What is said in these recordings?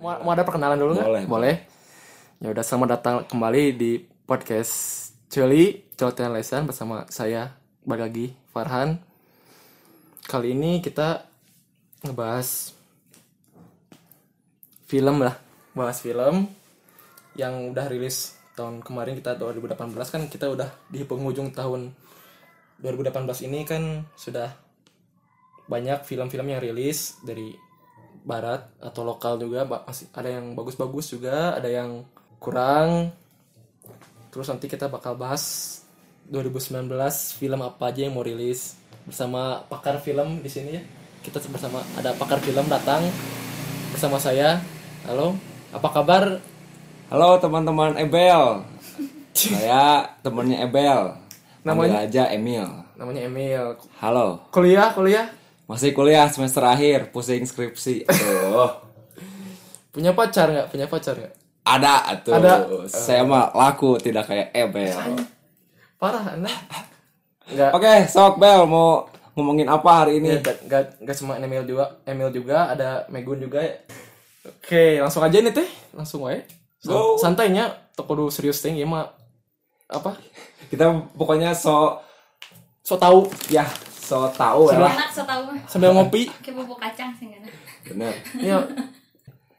mau ada perkenalan dulu nggak? Boleh, Boleh. Ya udah selamat datang kembali di podcast Celi Celotehan Lesan bersama saya balik lagi Farhan. Kali ini kita ngebahas film lah, bahas film yang udah rilis tahun kemarin kita 2018 kan kita udah di penghujung tahun 2018 ini kan sudah banyak film-film yang rilis dari barat atau lokal juga ba- masih ada yang bagus-bagus juga ada yang kurang terus nanti kita bakal bahas 2019 film apa aja yang mau rilis bersama pakar film di sini ya kita bersama ada pakar film datang bersama saya halo apa kabar Halo teman-teman Ebel. Saya temennya Ebel. Namanya aja Emil. namanya Emil Halo. kuliah kuliah Masih kuliah semester akhir, pusing skripsi. Aduh. punya pacar nggak punya pacar nggak Ada tuh. Ada. Saya mah laku tidak kayak Ebel. parah anda nggak Oke, sok Bel mau ngomongin apa hari ini? Nggak- nggak nggak cuma Emil juga Emil juga ada Megun juga ya. oke langsung aja nih teh langsung aja San- Go. santainya toko dulu serius teh ya mah apa Kita pokoknya so so tahu ya so tahu lah. enak setahu mah sambil ngopi kayak bubuk kacang sih enak Bener. ya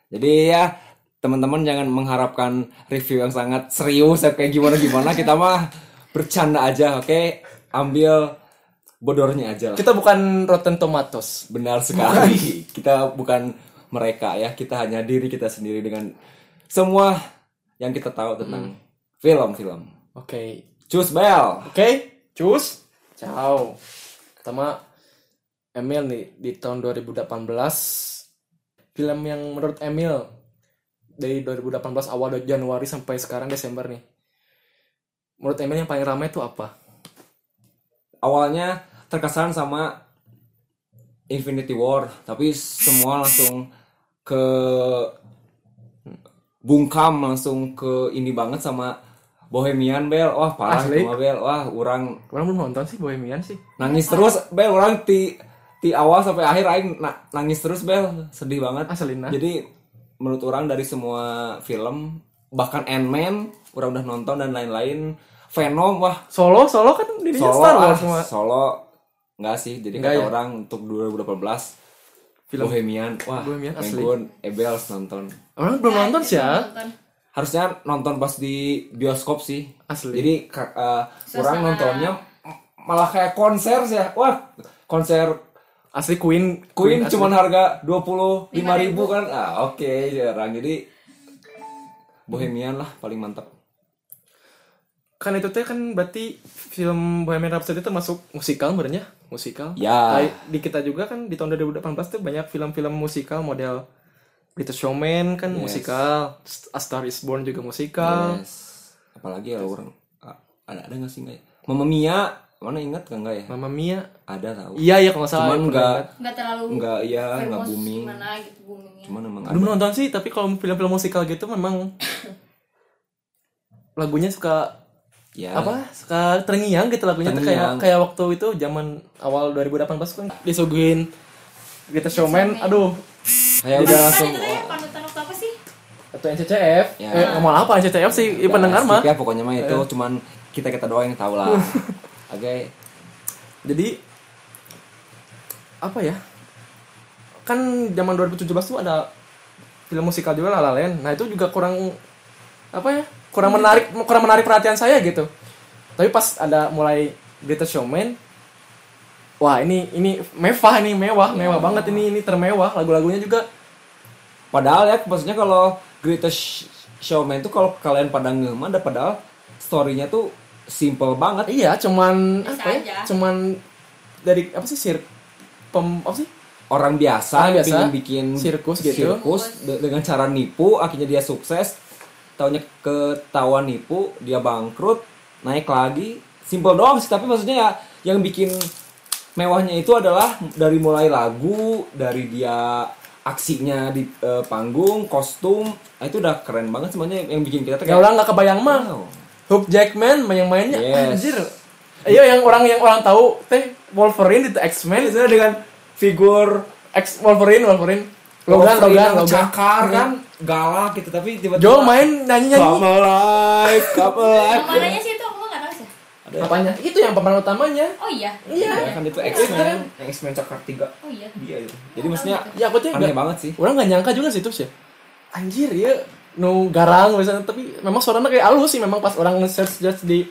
Jadi ya teman-teman jangan mengharapkan review yang sangat serius ya, kayak gimana gimana kita mah bercanda aja oke ambil bodornya aja lah. kita bukan Rotten Tomatoes benar sekali kita bukan mereka ya kita hanya diri kita sendiri dengan semua yang kita tahu tentang film-film oke Cus Bel oke cus ciao pertama Emil nih di tahun 2018 film yang menurut Emil dari 2018 awal dari Januari sampai sekarang Desember nih menurut Emil yang paling ramai itu apa awalnya terkesan sama Infinity War tapi semua langsung ke bungkam langsung ke ini banget sama Bohemian Bel wah parah Asli. itu mah, Bel wah orang orang belum nonton sih Bohemian sih nangis terus Bel orang ti ti awal sampai akhir aing na- nangis terus Bel sedih banget Asalina jadi menurut orang dari semua film bahkan Ant-Man orang udah nonton dan lain-lain Venom wah Solo Solo kan dirinya Star ah, Wars semua Solo enggak sih. Jadi Enggak kata ya? orang untuk 2018 film Bohemian. Wah, Bohemian asli. Menggun, Ebels nonton. orang belum nonton sih ya Harusnya nonton pas di bioskop sih. Asli. Jadi ka- eh, orang Suasana. nontonnya malah kayak konser sih. ya. Wah, konser asli Queen Queen asli. cuman harga 25.000 kan. Ah, oke, jarang. Jadi Bohemian lah paling mantap. kan itu teh kan berarti film Bohemian Rhapsody termasuk musikal sebenarnya musikal Ya. Kayak di kita juga kan di tahun 2018 tuh banyak film-film musikal model Little Showman kan musikal A Star Is Born juga musikal Yes. Apalagi ya orang ah, ada ada nggak sih nggak ya? Mamma Mia mana ingat nggak nggak ya? Mamma Mia Ada tahu. iya ya kalau nggak salah cuman aku nggak pernah nggak terlalu nggak ya nggak famous booming mana gitu boomingnya cuman emang lihat. ada belum nonton sih tapi kalau film-film musikal gitu memang lagunya suka ya apa suka terngiang gitu lagunya tuh kayak Terngiang. kayak waktu itu zaman awal 2018 kan disuguhin Little Showman aduh saya Panutan udah langsung itu tadi panutan waktu apa sih atau NCCF Ya. eh ngomong apa NCCF sih ya, pendengar mah Iya. skip ya pokoknya mah itu cuman kita kita doang yang tahu lah oke jadi apa ya kan zaman 2017 tuh ada film musikal juga La La Land nah itu juga kurang apa ya kurang menarik kurang menarik perhatian saya gitu tapi pas ada mulai Greatest Showman wah ini ini mewah ini mewah mewah banget ini ini termewah lagu-lagunya juga padahal ya maksudnya kalau greatest showman itu kalau kalian pada ngeh mah, ada padahal storynya tuh simple banget iya cuman Bisa apa ya aja. cuman dari apa sih sir pem apa sih orang biasa, Orang biasa, pingin bikin sirkus gitu. sirkus de- dengan cara nipu akhirnya dia sukses tahunya ketahuan nipu dia bangkrut naik lagi simple doang sih tapi maksudnya ya yang bikin mewahnya itu adalah dari mulai lagu dari dia aksinya di eh, panggung kostum nah, itu udah keren banget semuanya yang bikin kita tuh Ya kayak orang nggak kebayang mah. wow. Hugh Jackman yang mainnya Yes. anjir. Iya yang orang yang orang tahu teh Wolverine itu X-Men Maksudnya dengan figur X Wolverine Wolverine Logan Wolverine Logan Iya. yang Logan cakar kan galak gitu tapi tiba-tiba Jo main nyanyi nyanyi. Come alive, come alive. Pemerannya sih itu aku mah nggak tahu sih. Apanya? Itu yang pemeran utamanya. Oh iya. Iya. Ya, kan itu X-Men, yang X-Men cakar tiga Oh iya. dia itu. Jadi maksudnya Ya aku tuh aneh nggak- banget sih. orang nggak nyangka juga sih itu sih. Anjir ya, no garang misalnya tapi memang suaranya kayak halus sih memang pas orang search search di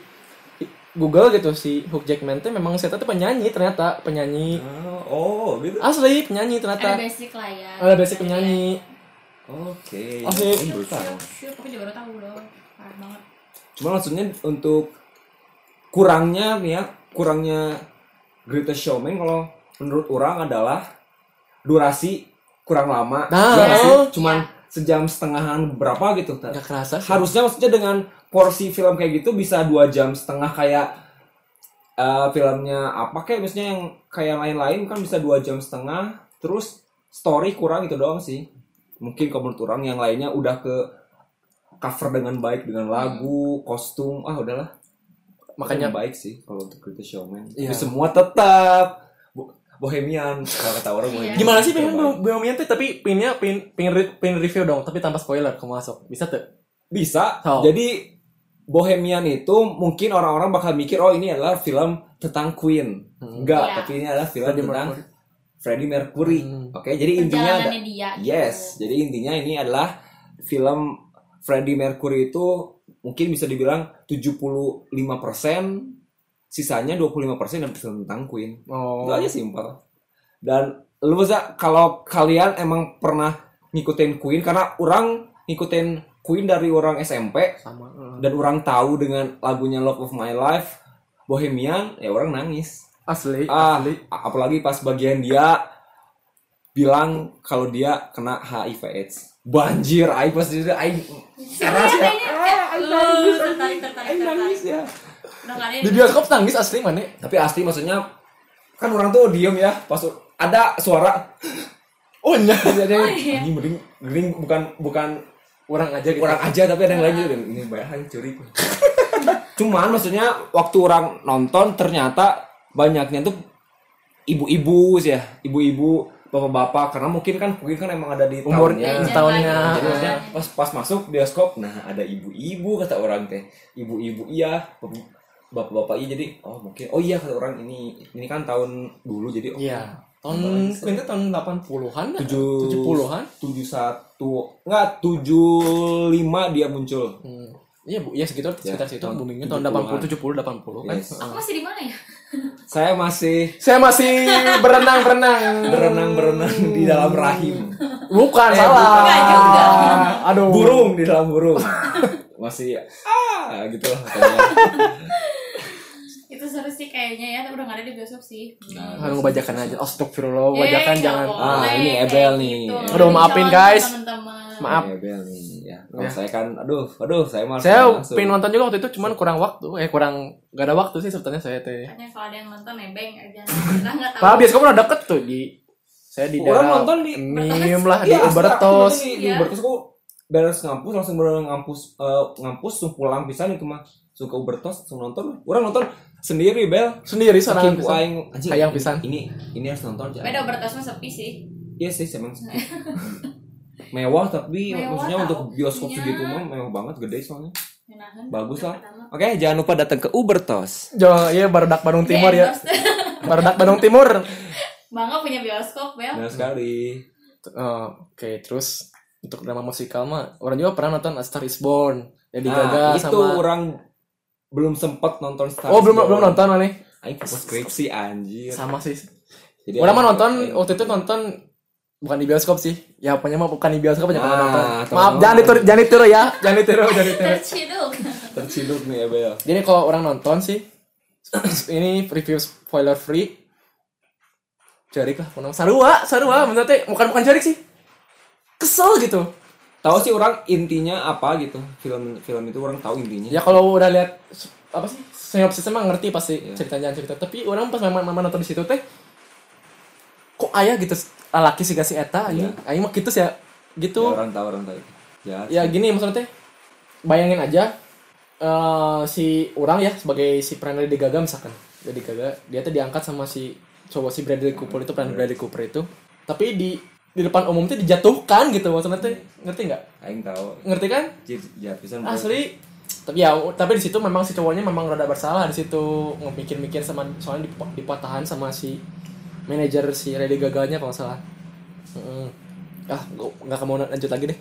Google gitu si Hugh Jackman tuh memang saya tuh penyanyi ternyata penyanyi Ah, Oh, gitu. asli penyanyi Ada ternyata basic lah ya. ada basic penyanyi Oke. Oke. Ini Syuk, Berusaha. syuk, syuk. Aku juga baru tahu loh. Parah banget. Cuma maksudnya untuk kurangnya nih ya, kurangnya Greatest Showman kalau menurut orang adalah durasi kurang lama. Nah. durasi Oh. cuman sejam setengahan berapa gitu. nggak kerasa sih. harusnya maksudnya dengan porsi film kayak gitu bisa dua jam setengah kayak eh, filmnya apa kayak misalnya yang kayak lain-lain kan bisa dua jam setengah terus story kurang itu doang sih mungkin kalau menurut orang yang lainnya udah ke cover dengan baik dengan lagu kostum ah udahlah makanya yang baik sih kalau untuk Greatest Showman Iya. Tapi semua tetap bo- bohemian kalau kata orang Iya. bohemian gimana sih pengen Terbaik. belum belum tuh tapi pinnya pin pin, re- pin review dong tapi tanpa spoiler kamu masuk bisa tuh Bisa. Oh. Jadi Bohemian itu mungkin orang-orang bakal mikir oh ini adalah film tentang Queen. Hmm. Enggak, Iya. tapi ini adalah film Freddie tentang Mercury. Freddie Mercury. Hmm. Oke, jadi intinya ada- Perjalanannya dia. gitu. Yes, jadi intinya ini adalah film Freddie Mercury itu mungkin bisa dibilang 75% sisanya 25% dan film tentang Queen. oh Itu aja simpel. Dan lu bisa kalau kalian emang pernah ngikutin Queen karena orang ngikutin Queen dari orang SMP sama eh. dan orang tahu dengan lagunya Love of My Life Bohemian ya orang nangis. asli Ah, asli a- apalagi pas bagian dia bilang kalau dia kena HIV AIDS. Banjir, aing pas itu aing Sebenarnya ya. kayaknya, eh, Ah, aing lu, nangis, tertarik, aing. tertarik, Aing nangis tertarik. ya. Udah nggak ada di bioskop nangis asli mana Tapi asli maksudnya kan orang tuh diem ya pas u- ada suara oh iya Jadi ada yang Oh, iya. "Anjing, mending mending bukan bukan orang aja gitu orang aja tapi ada yang lain gitu. ini bahaya curi. Cuman maksudnya waktu orang nonton ternyata banyaknya tuh ibu-ibu sih ya, ibu-ibu, bapak-bapak karena mungkin kan mungkin kan emang ada di umur tahunnya. Iya. Legend tahunnya lagi. Jadi maksudnya pas pas masuk bioskop, nah ada ibu-ibu kata orang teh, ibu-ibu iya, bap- bapak-bapak iya jadi oh mungkin oh iya kata orang ini ini kan tahun dulu jadi oh, iya tahun Queen tuh tahun 80-an ya? tujuh 70-an tujuh satu enggak tujuh lima dia muncul Hmm. Iya bu, ya sekitar Ya, sekitar situ tahun boomingnya tahun 70-an. 80 70 80 kan. Yes. Aku masih di mana ya? saya masih Saya masih berenang berenang. berenang berenang di dalam rahim Bukan Eh, salah. bukan juga. Aduh. burung di dalam burung masih ah gitu lah katanya Itu seru sih kayaknya ya, tapi udah nggak ada di bioskop sih. Nah, Aduh ngebajakan aja. Astagfirullah, Eh, bajakan nggak jangan. boleh, Ah, ini kayak gitu. Ebel nih. Aduh, maafin, guys. teman-teman. Ah, Maaf. Ya, Bel, nih, ya. Kalau Ya. saya kan, aduh, aduh, saya malah Saya langsung. pengen nonton juga waktu itu cuman kurang waktu. Eh kurang gak ada waktu sih sebetulnya saya teh. Katanya kalau ada yang nonton ya, nebeng aja. Kita nggak tahu. Pak bioskop udah deket tuh di saya di Orang daerah nonton di- Mim lah di Iya, asli, Ubertos. aku nonton Di, di Iya. Ubertos aku beres ngampus langsung berenang ngampus eh, ngampus langsung pulang pisan itu mah suka Ubertos langsung nonton. Orang nonton sendiri Bel. Sendiri seorang Saking ku aing anjing, Hayang pisan. Ini ini harus nonton. Beda bertasnya sepi sih. Iya sih emang sih. mewah tapi Nah. Mewah, maksudnya tahu. untuk bioskop Iya. segitu mah mewah banget gede soalnya. Menahan. Bagus lah. Pertama. Oke, jangan lupa datang ke Ubertos. Jo, iya Barudak Bandung Timur ya. Endorse. Barudak Bandung Timur. Bangga punya bioskop, Bel. Benar sekali. Eh, Oke, terus untuk drama musikal mah orang juga pernah nonton A Star Is Born. Lady Nah, Gaga itu sama orang belum sempat nonton Star Oh, belum Born. Iya. belum nonton nih. Aing fokus skripsi anjir. Sama sih. Jadi Orang mah aing- nonton aing- waktu itu nonton bukan di bioskop sih. Ya pokoknya mah bukan di bioskop aja pernah Ah, nonton. teman-teman. Maaf, jangan ditiru, jangan ditiru ya. Jangan ditiru, jangan ditiru. Terciduk. terciduk nih ya, Abel. Jadi kalau orang nonton sih ini review spoiler free. Jarik lah, pokoknya. sarua, sarua, bener teh bukan bukan jarik sih. Kesel gitu. Tahu sih orang intinya apa gitu. Film film itu orang tahu intinya. Ya kalau udah lihat apa sih sinopsis emang ngerti pasti ceritanya cerita. Tapi orang pas memang memang nonton di situ teh kok ayah gitu laki sih kasih eta anjing. Aing mah gitu sih ya. Gitu. Ya, orang tahu orang tahu. Ya. ya gini maksudnya teh bayangin aja eh, si orang ya sebagai si peran Lady Gaga misalkan Lady Gaga dia tuh diangkat sama si cowok si Bradley Cooper itu peran Bradley Cooper itu tapi di di depan umum tuh dijatuhkan gitu maksudnya tuh ngerti nggak aing tahu ngerti kan Cip, jahat pisan bro. asli tapi ya tapi di situ memang si cowoknya memang rada bersalah di situ ngepikir-mikir sama soalnya dip- dipatahan sama si manajer si Lady Gaganya kalau nggak salah Mm-mm. ah gua nggak mau lanjut lagi deh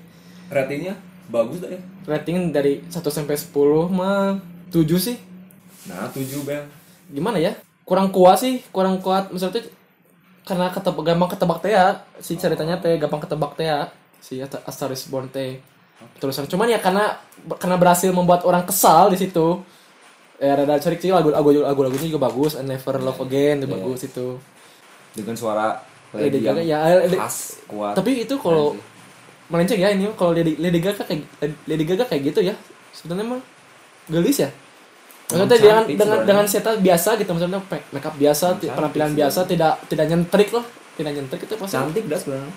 ratingnya bagus dah ya rating dari 1 sampai 10 mah 7 sih nah tujuh bel gimana ya kurang kuat sih kurang kuat maksudnya tuh karena ketebak gampang ketebak teh ya si ceritanya teh gampang ketebak teh ya si Ata- A Star Is Born teh terusan cuman ya karena karena berhasil membuat orang kesal di situ ya rada cerik sih lagu lagu lagu lagunya juga bagus I Never Love Again itu bagus itu dengan suara Lady lady Gaga yang ya Lady- khas kuat tapi itu kalau melenceng ya ini kalau Lady, Lady Gaga kayak Lady Gaga kayak gitu ya sebenarnya mah gelis ya maksudnya Emang dengan cantik dengan sebenarnya. dengan setel biasa gitu maksudnya pe- makeup biasa ti- cantik penampilan biasa tidak tidak nyentrik lah tidak nyentrik itu pasti cantik dah sebenarnya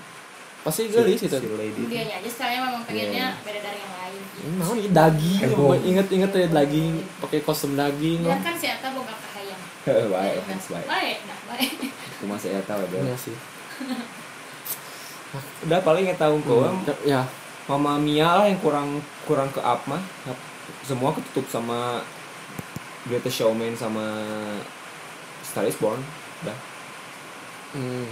pasti gelis gitu si lady Dianya aja stylenya memang pengennya Iya. beda dari yang lain. Nah, ini daging, Heboh. inget-inget ya daging, pakai kostum daging oh. lah. Dan kan si Eta boga kahayang. baik Nah, baik Baik, nah, baik. aku masih eta we, bel Iya sih. udah paling eta unggul Ya, Mama Mia lah yang kurang kurang ke up mah semua ketutup sama Greatest Showman sama Star Is Born dah hmm.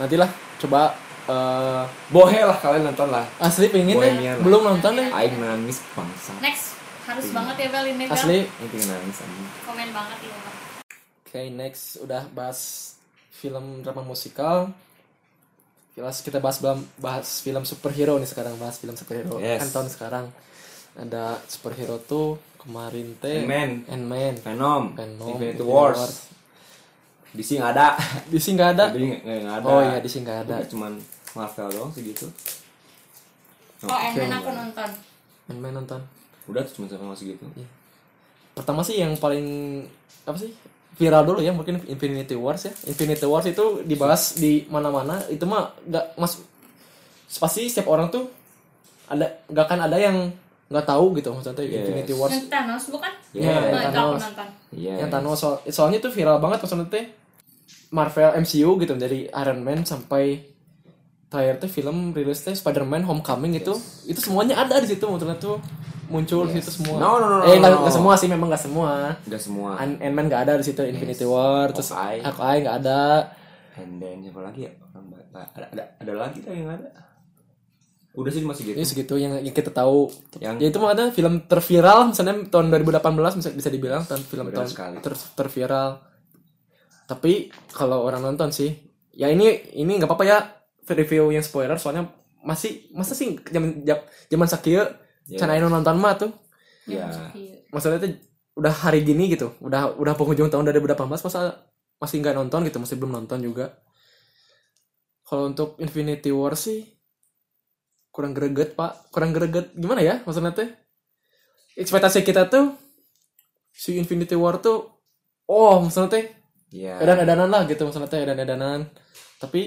nantilah coba eh, bohe lah kalian nonton lah asli pengen Bohemian deh, lah. belum nonton deh. Aing nangis bangsa Next, harus banget ya Bel ini Bel. Asli Aing pengen nangis anjing. Komen banget ini. Bel. Oke, next udah bahas film drama musikal. Jelas kita bahas belum bahas film superhero nih sekarang bahas film superhero. Yes. Kan tahun sekarang ada superhero tuh kemarin teh Ant-Man. Ant-Man. Venom, Venom, Infinity Infinity Wars. Wars. Di sini nggak ada. Di sini nggak ada. Jadi nggak- nggak ada. Oh iya, di sini nggak ada. Udah cuman Marvel doang segitu. Oh, Ant-Man aku nonton. Ant-Man nonton. Udah tuh cuma sama segitu. Pertama sih yang paling apa sih? viral dulu ya mungkin Infinity Wars ya Infinity Wars itu dibahas di mana-mana itu mah nggak mas pasti setiap orang tuh ada nggak akan ada yang nggak tahu gitu maksudnya Yes. Infinity Wars Yang Thanos bukan? Iya, Iya, Nah, itu aku Thanos. nonton. Iya. yang Thanos soal- soalnya itu viral banget maksudnya teh Marvel MCU gitu dari Iron Man sampai terakhir tuh film rilis teh Spider-Man Homecoming itu itu semuanya ada di situ maksudnya tuh muncul di situ semua. No, no, no, no, eh no, nggak no. nggak semua sih memang nggak semua. Udah semua. An- Ant-Man nggak ada di situ Infinity War terus Hawkeye. Hawkeye nggak ada. And then siapa lagi ya? Orang ba- ba- Ada, ada, ada lagi tuh yang ada. Udah Iya sih cuma segitu. Ini segitu yang, yang kita tahu. Yang- Ya itu makanya film terviral misalnya tahun 2018 bisa bisa dibilang tahun film Viral tahun sekali. ter- terviral. Tapi kalau orang nonton sih, ya ini ini nggak apa-apa ya review yang spoiler soalnya masih masa sih zaman jam- zaman sakieu Iya. can aya nu nonton mah tuh. Iya. Iya. Maksudnya tuh udah hari gini gitu, udah udah penghujung tahun 2018 masa masih nggak nonton gitu, masih belum nonton juga. Kalau untuk Infinity War sih kurang greget pak, kurang greget gimana ya maksudnya tuh? Ekspektasi kita tuh si Infinity War tuh, oh maksudnya tuh Iya. edan-edanan lah gitu maksudnya teh edan-edanan tapi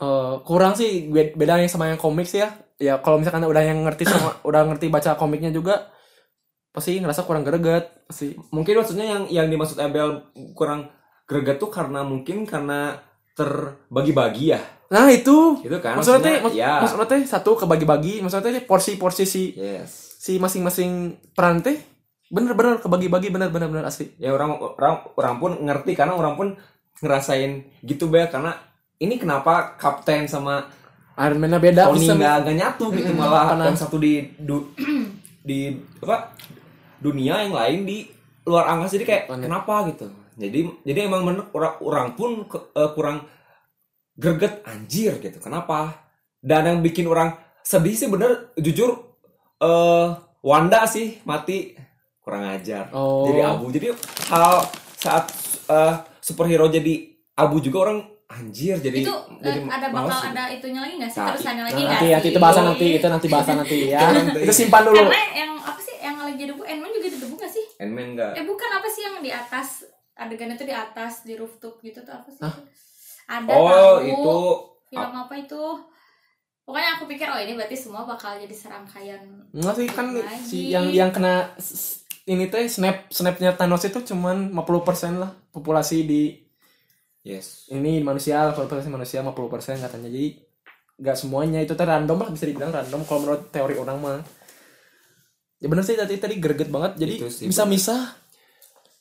eh, kurang sih be- beda yang sama yang komik sih ya ya kalau misalkan udah yang ngerti sama udah ngerti baca komiknya juga pasti ngerasa kurang greget pasti Mungkin maksudnya yang yang dimaksud Abel kurang greget tuh karena mungkin karena terbagi-bagi ya. nah itu Gitu kan? maksudnya teh mak- ya. maksudnya teh satu kebagi-bagi maksudnya teh porsi-porsi si Yes. si masing-masing peran teh bener-bener kebagi-bagi bener-bener bener asli ya orang orang orang pun ngerti karena orang pun ngerasain gitu bel karena ini kenapa kapten sama Iron Man-nya beda Tony pisan. nggak nggak nyatu gitu malah Karena- yang satu di du- di apa dunia yang lain di luar angkasa jadi kayak Planet. kenapa gitu jadi jadi emang bener orang orang pun ke- eh, kurang greget anjir gitu kenapa dan yang bikin orang sedih sih bener jujur eh Wanda sih mati kurang ajar Oh. jadi abu jadi hal saat eh, superhero jadi abu juga orang anjir jadi Itu eh, jadi ada males bakal gitu. ada itunya lagi nggak sih? Nah, Terusannya lagi nggak nanti sih? nanti itu bahasan nanti gitu. itu nanti bahasan nanti ya Nanti. itu simpan dulu Karena yang apa sih yang lagi debu, Ant-Man juga debu nggak sih? Ant-Man nggak Eh bukan apa sih yang di atas adegannya tuh di atas di rooftop gitu tuh apa sih? Ada oh tahu. itu Ah. film apa itu? Pokoknya aku pikir oh ini berarti semua bakal jadi serangkaian. Enggak sih kan Lagi. si yang yang kena s- s- ini teh snap snapnya Thanos itu cuman 50% lah populasi di Yes. ini manusia 80% manusia 50% katanya jadi nggak semuanya itu teh random lah bisa dibilang random kalau menurut teori orang mah ya bener sih tadi tadi greget banget jadi Itu sih, bisa misah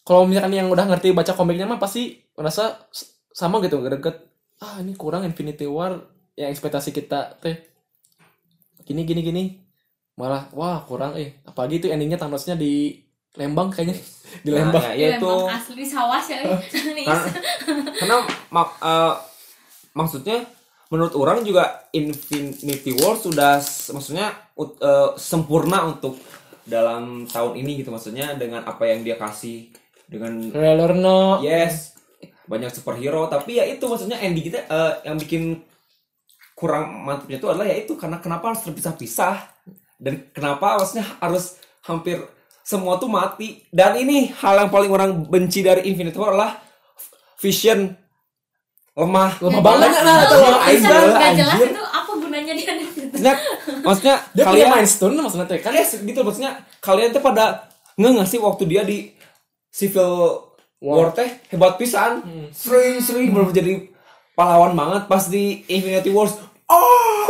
kalau misalkan yang udah ngerti baca komiknya mah pasti merasa s- sama gitu greget ah ini kurang Infinity War yang ekspektasi kita teh gini gini gini malah wah kurang eh apalagi itu endingnya Thanosnya di Lembang kayaknya di Lembang Nah, ya, Iya, itu emang asli sawah ya. Nih. karena, karena mak- eh, maksudnya menurut orang juga Infinity War sudah s- maksudnya ut- eh, sempurna untuk dalam tahun ini gitu maksudnya dengan apa yang dia kasih dengan trailer no yes banyak superhero tapi ya itu maksudnya Andy kita eh, yang bikin kurang mantapnya itu adalah ya itu karena kenapa harus terpisah-pisah dan kenapa maksudnya harus hampir semua tuh mati dan ini hal yang paling orang benci dari Infinity War adalah Vision lemah Lemah Nggak banget jelas. lah atau Nggak lemah jelas, aja, nggak jelas anjir. itu apa gunanya dia di situ. maksudnya maksudnya dia punya kalian- main stone maksudnya teh kan kan ya gitu maksudnya kalian tuh pada nggak nggak sih waktu dia di civil war, teh hebat pisan sering sering baru jadi pahlawan banget pas di Infinity Wars oh,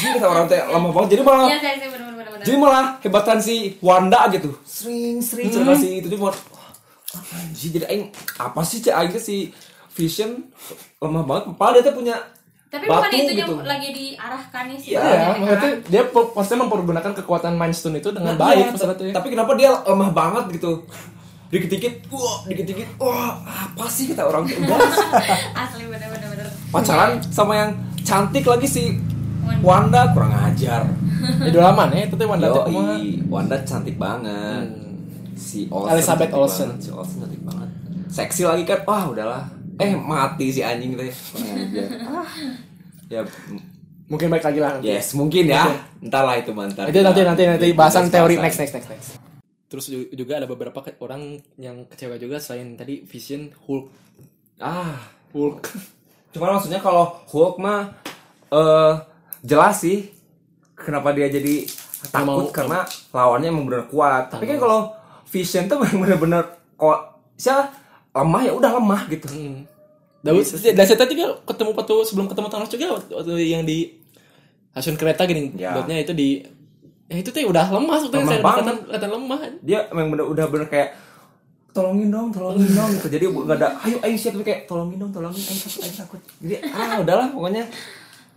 Jadi Ah! kata orang teh lama banget jadi malah Iya, saya sih benar-benar benar. jadi malah hebatan si Wanda gitu sering sering cerita si itu tuh malah, "Wah, anjir jadi aing apa sih cek aing teh si Vision lemah banget padahal dia tuh punya Tapi batu bukan itu yang gitu. lagi diarahkan nih sih. Iya, Iya, maksudnya dia pe- pasti mempergunakan kekuatan Mind Stone itu dengan Iya, baik ta- maksudnya tuh ya. Tapi kenapa dia lemah banget gitu? Dikit-dikit, wah, dikit-dikit, wah, apa sih kata orang tuh? Udah, Asli benar-benar benar. pacaran sama yang cantik lagi si Wah. Wanda kurang ajar. Idola mana ya, itu teh Wanda teh Yo, kumaha. Wanda cantik banget. Si Olsen Elizabeth cantik Olsen. banget, Si Olsen cantik banget. Seksi lagi kan, wah udahlah. Eh mati si anjing teh. Kurang ajar. Ah. ya, m- Mungkin baik lagi lah. nanti. yes mungkin ya. Entahlah itu mantan. Itu nanti nanti nanti bahasan teori next next next next. Terus ju- juga ada beberapa ke- orang yang kecewa juga selain tadi Vision, Hulk, Ah, Hulk. Cuma maksudnya kalau Hulk mah eh jelas sih kenapa dia jadi takut mau- karena lawannya emang bener kuat. Tapi kan kalau Vision tuh emang bener-bener kok siapa lemah ya udah lemah gitu. Hmm. Dan dan saya tadi juga ketemu waktu sebelum ketemu Thanos juga waktu, waktu yang di stasiun kereta gini Ya. dotnya itu di ya itu teh udah lemah sebetulnya Lemah saya banget. kelihatan- kelihatan lemah. Dia emang bener udah bener kayak tolongin dong, tolongin dong gitu. Jadi bu- nggak ada ayo ayo siap tapi kayak tolongin dong, tolongin ayo takut, ayo takut. Jadi ah udahlah pokoknya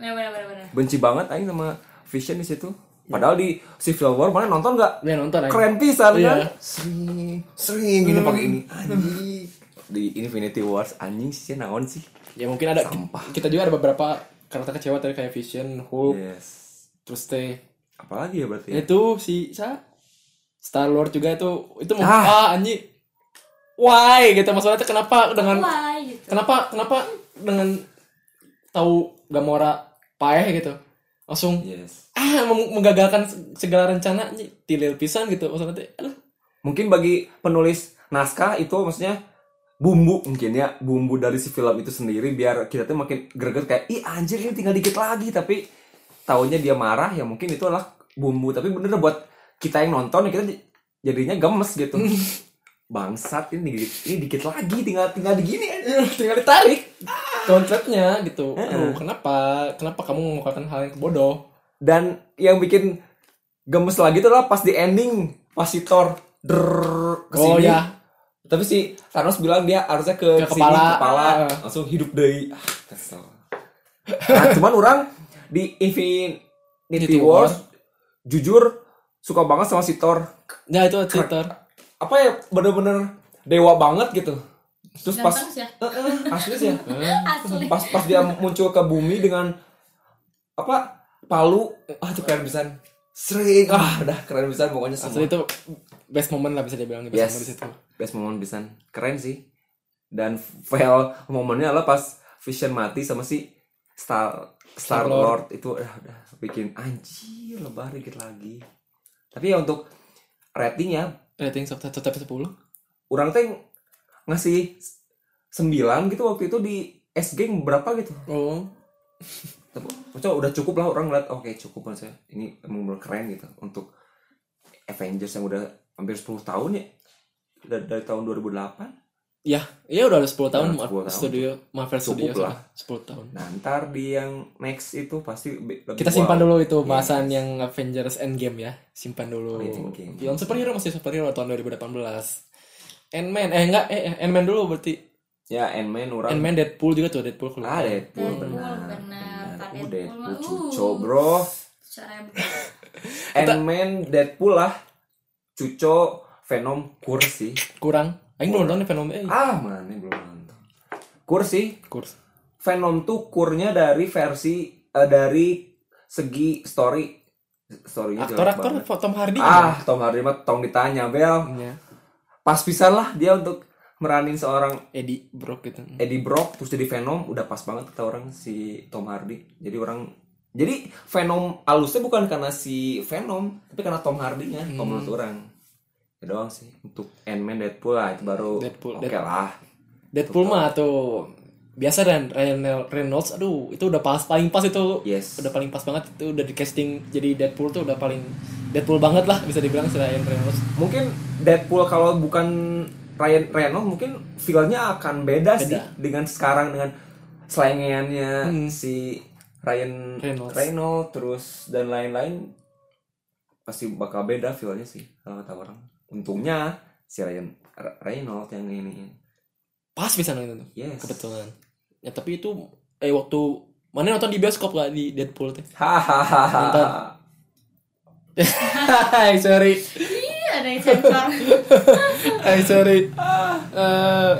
Benar-benar benar-benar. benci banget aing sama Vision di situ. Padahal di Civil War mana nonton nggak? Ya nonton aja. keren pisan kan Iya. sering sering ini pakai ini anjing di Infinity Wars anjing sih naon sih Ya mungkin ada Sampah. Iya. kita juga ada beberapa karakter kecewa tadi kayak Vision, Hulk, yes terus teh apalagi ya berarti ya? itu si sa Star Lord juga itu itu mau Ah. ah anji why gitu maksudnya tuh kenapa dengan Wah, gitu. kenapa kenapa dengan tahu Gamora paeh gitu langsung yes ah meng- menggagalkan segala rencana anji tilil pisan gitu maksudnya teh aduh mungkin bagi penulis naskah itu maksudnya bumbu mungkin ya bumbu dari si film itu sendiri biar kita tuh makin greget kayak ih anjir ini tinggal dikit lagi tapi taunya dia marah ya mungkin itu adalah bumbu tapi bener buat kita yang nonton ya kita j- jadinya gemes gitu bangsat ini dikit, ini dikit lagi tinggal tinggal digini anjir. tinggal ditarik kontraknya gitu aduh kenapa kenapa kamu melakukan hal yang bodoh dan yang bikin gemes lagi itu adalah pas di ending pas si Thor drrrr kesini. oh ya tapi si Thanos bilang dia harusnya Ke ke, kesini, kepala. kepala Ah. langsung hidup dari ah, kesel nah, cuman orang di Infinity Infinity War. War jujur suka banget sama si Thor ya itu Twitter apa ya bener-bener dewa banget gitu terus pas Ganteng sih ya. Eh, eh, asli sih ya Asli. pas pas dia muncul ke bumi dengan apa palu ah itu keren pisan sering ah udah keren pisan pokoknya Asli semua itu best moment lah bisa dibilang best Yes. moment di situ. best moment pisan keren sih dan fail momennya adalah pas Vision mati sama si Star Star Lord, Star-Lord. itu udah udah bikin anjir lebar dikit lagi tapi ya untuk ratingnya Rating satu satu sampai sepuluh. orang teh ngasih 9 gitu waktu itu di S Gang berapa gitu Oh, Tapi, maksudnya udah cukup lah orang ngeliat oke cukup maksudnya ini emang bener keren gitu untuk Avengers yang udah hampir 10 tahun ya dari, dari tahun 2008 ya iya udah ada 10 tahun Udah 10 tahun. studio Marvel Studio Cukup lah. 10 tahun Nah ntar di yang next itu pasti be- lebih kita simpan dulu wow. itu Iya. Oh, bahasan yang Avengers Endgame ya simpan dulu What do you thinking? film superhero masih superhero tahun 2018 Ant-Man eh enggak eh eh, Ant-Man dulu berarti Ya Ant-Man orang Ant-Man Deadpool juga tuh Deadpool keluar Ah Deadpool, Deadpool, benar benar. benar. Tapi Uh, Deadpool Deadpool mah, cuco uh. bro Caranya bukan. Ant-Man Deadpool lah Cuco Venom kursi kurang Aing belum nonton nih Venom eh Ah Iya, mana belum nonton Kursi kurs Venom tuh kurnya dari versi eh, dari segi story storynya aktor jelek aktor banget. Tom Hardy kan? ah Tom Hardy mah tong ditanya Bel ya pas pisan lah dia untuk meranin seorang Eddie Brock gitu Eddie Brock terus jadi Venom udah pas banget kata orang si Tom Hardy jadi orang jadi Venom alusnya bukan karena si Venom tapi karena Tom Hardy nya Hmm. menurut orang itu doang sih untuk Ant-Man Deadpool lah itu baru Deadpool, oke Deadpool. lah Deadpool mah tuh biasa dan Ryan Reynolds aduh itu udah pas paling pas itu yes udah paling pas banget itu udah di casting jadi Deadpool tuh udah paling Deadpool banget lah bisa dibilang si Ryan Reynolds mungkin Deadpool kalau bukan Ryan Reynolds mungkin feelnya akan beda, sih dengan sekarang dengan selengeannya Hmm. si Ryan Reynolds. Reynolds, terus dan lain-lain pasti bakal beda feelnya sih kalau kata orang untungnya si Ryan Re- Reynolds yang ini pas bisa nonton tuh yes kebetulan ya tapi itu eh waktu mana nonton di bioskop gak di Deadpool teh Nonton. hahaha Hai sorry Iya, ada yang sensor. Hai sorry Eh,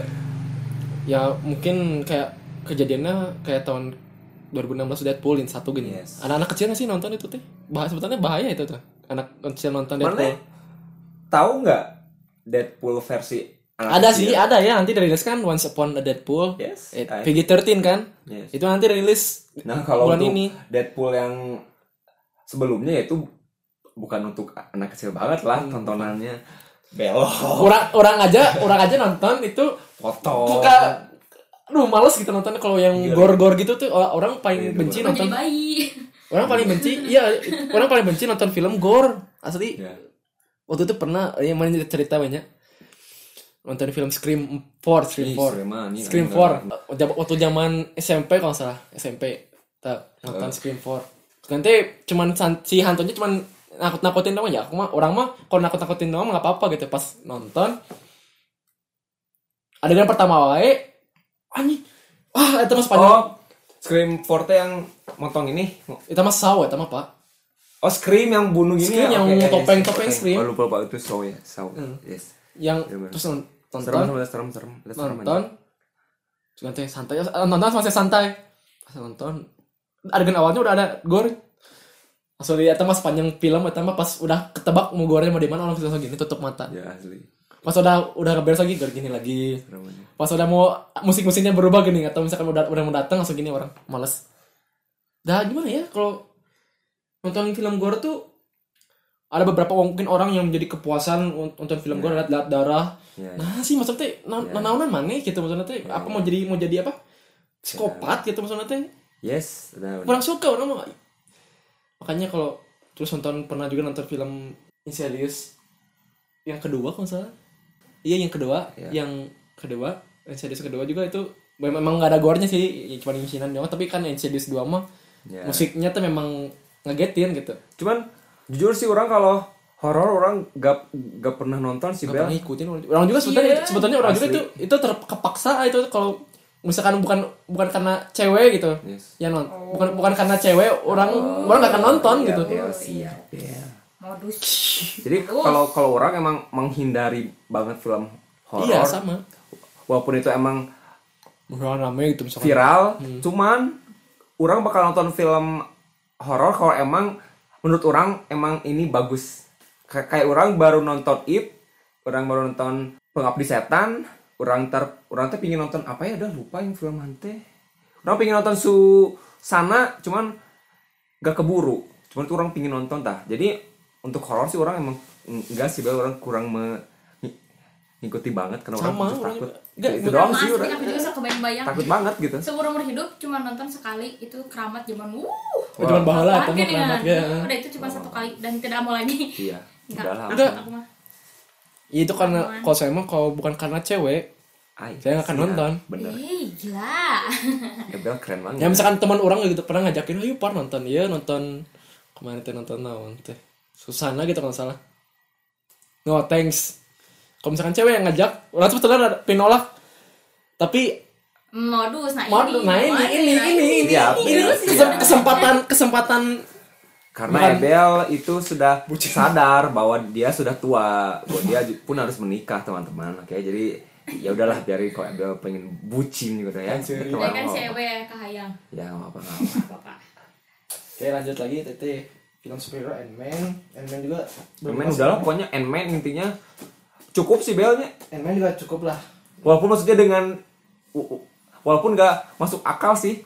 ya mungkin kayak kejadiannya kayak tahun 2016 Deadpoolin satu gini Yes. anak-anak kecil nggak sih nonton itu teh bah sebetulnya bahaya itu tuh anak kecil nonton mana Deadpool tahu nggak Deadpool versi anak ada sih kecil? ada ya nanti dirilis kan Once Upon a Deadpool yes eh, I- PG-13 kan yes. itu nanti rilis Nah kalau bulan untuk ini. Deadpool yang sebelumnya itu bukan untuk anak kecil banget Hmm, lah tontonannya belok orang orang aja orang aja nonton itu foto suka aduh males gitu nonton kalau yang Iya. gor-gor gitu tuh orang orang paling Iya, benci Mau nonton jadi bayi. orang paling benci iya orang paling benci nonton film gore asli Ya. waktu itu pernah yang mana cerita banyak nonton film Scream 4 Scream Ih, 4 Sulaiman, ini Scream nonton. 4 Jab- waktu zaman SMP kalau nggak salah SMP kita nonton Scream 4 nanti cuman san- si hantunya cuman nakut nakutin doang ya aku mah orang mah kalau nakut nakutin doang nggak apa apa gitu pas nonton adegan pertama wae anjing ah itu mas oh Spanyol Scream 4 teh yang motong ini itu mas saw itu mah pak oh Scream yang bunuh gini Scream ya? yang Oke, yes, topeng-topeng yes. Scream. oh, lupa lupa itu show ya show Hmm. yes yang Iya, bener. terus nonton serem serem serem serem Lihat serem aja. nonton juga teh santai eh, nonton masih santai pas nonton adegan awalnya udah ada gore langsung lihat mas panjang film atau mah pas udah ketebak mau gore mau di mana orang langsung gini tutup mata ya asli pas udah udah beres lagi gore gini lagi serem aja. pas udah mau musik musiknya berubah gini atau misalkan udah udah mau datang langsung gini orang males dah gimana ya kalau nonton film gore tuh ada beberapa mungkin orang yang menjadi kepuasan un- nonton film gore lihat lihat darah ya, ya. nah sih maksudnya teh na- Ya. nanaunan mana gitu maksudnya teh Ya. apa mau jadi mau jadi apa psikopat gitu maksudnya teh yes udah, udah. kurang suka orang mah makanya kalau terus nonton pernah juga nonton film Insidious yang kedua kalau nggak salah iya yang kedua Ya. yang kedua Insidious kedua juga itu memang nggak ada gornya sih ya, cuma insinan doang tapi kan Insidious dua mah Ya. musiknya tuh memang ngegetin gitu cuman jujur sih orang kalau horor orang gak gak pernah nonton sih nggak Bel pernah ngikutin orang- orang juga sebetulnya Iya. sebetulnya orang juga Asli. itu itu terkepaksa itu kalau misalkan bukan bukan karena cewek gitu Yes. ya non bukan bukan karena cewek orang orang nggak akan nonton Iya, gitu Bel, Oh, iya. siap, Bel. Modus. Jadi kalau kalau orang emang menghindari banget film horor. iya sama Walaupun itu emang orang rame gitu misalkan viral, cuman orang bakal nonton film horor kalau emang menurut orang emang ini bagus. Kay- Kayak orang baru nonton It, orang baru nonton Pengabdi Setan, orang ter orang teh pingin nonton apa ya udah lupa yang film hante. Orang pingin nonton su sana cuman gak keburu. Cuman tuh orang pingin nonton tah. Jadi untuk horor sih orang emang enggak sih Bel, orang kurang me- ng- ngikuti banget karena orang Sama, terus orang takut. juga. Nggak, itu bener doang Sama sih asli, orang aku juga suka bayang-bayang. takut banget gitu. Seumur umur hidup cuma nonton sekali itu keramat zaman wuh. Itu cuman bahala atau mah Apaan gini, keramat kan? ya Udah itu cuma satu kali dan tidak mau lagi. Iya, Nggak, udah lah. Udah. aku mah. Ya, itu karena Apaan? kalau saya mah kalau bukan karena cewek Ay, saya nggak akan nonton bener Ih, gila. Iya. Gabriel keren banget. ya misalkan teman orang gitu pernah ngajakin ayo par nonton ya nonton kemarin teh nonton naon teh susana gitu kalau nggak salah no thanks kalau misalkan cewek yang ngajak orang tuh sebenarnya ada penolak tapi Modus, nah mau nah ini ini ya, ini ini, Iya, ini iya, kesem- kesempatan kesempatan Karena Bukan. Ebel itu sudah Bucin. sadar bahwa dia sudah tua, bahwa dia ju- pun harus menikah teman-teman. Oke, jadi ya udahlah biarin kalau Ebel pengen bucin gitu ya. Kan serius. Dia Kemana kan mau. cewek ya, kahayang. Ya nggak apa-apa. nggak apa-apa. Gak apa-apa. oke lanjut lagi tete film superhero Ant Man Ant Man juga belum Ant-Man masuk. udahlah pokoknya Ant-Man intinya cukup sih Belnya. Ant Man juga cukup lah Walaupun maksudnya dengan u- u- walaupun nggak masuk akal sih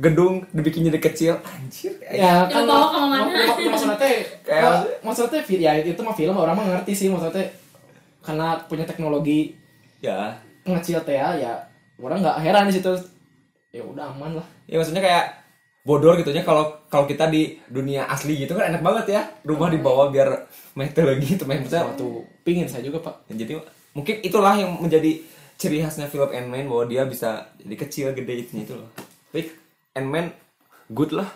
gedung dibikin jadi kecil anjir ya Lu bawa ke mana? mak- mak- maksudnya teh Kayak- kayak maksudnya teh ya itu mah film orang mah ngerti sih maksudnya teh karena punya teknologi ya pengecil teh ya orang nggak heran di situ ya udah aman lah ya maksudnya kayak bodor gitu ya kalau kalau kita di dunia asli gitu kan enak banget ya rumah di bawah biar gitu. meh teu leungit, meh besar waktu pingin saya juga pak jadi mungkin itulah yang menjadi ciri khasnya film Ant-Man bahwa dia bisa jadi kecil gede itunya itu loh tapi Ant-Man good lah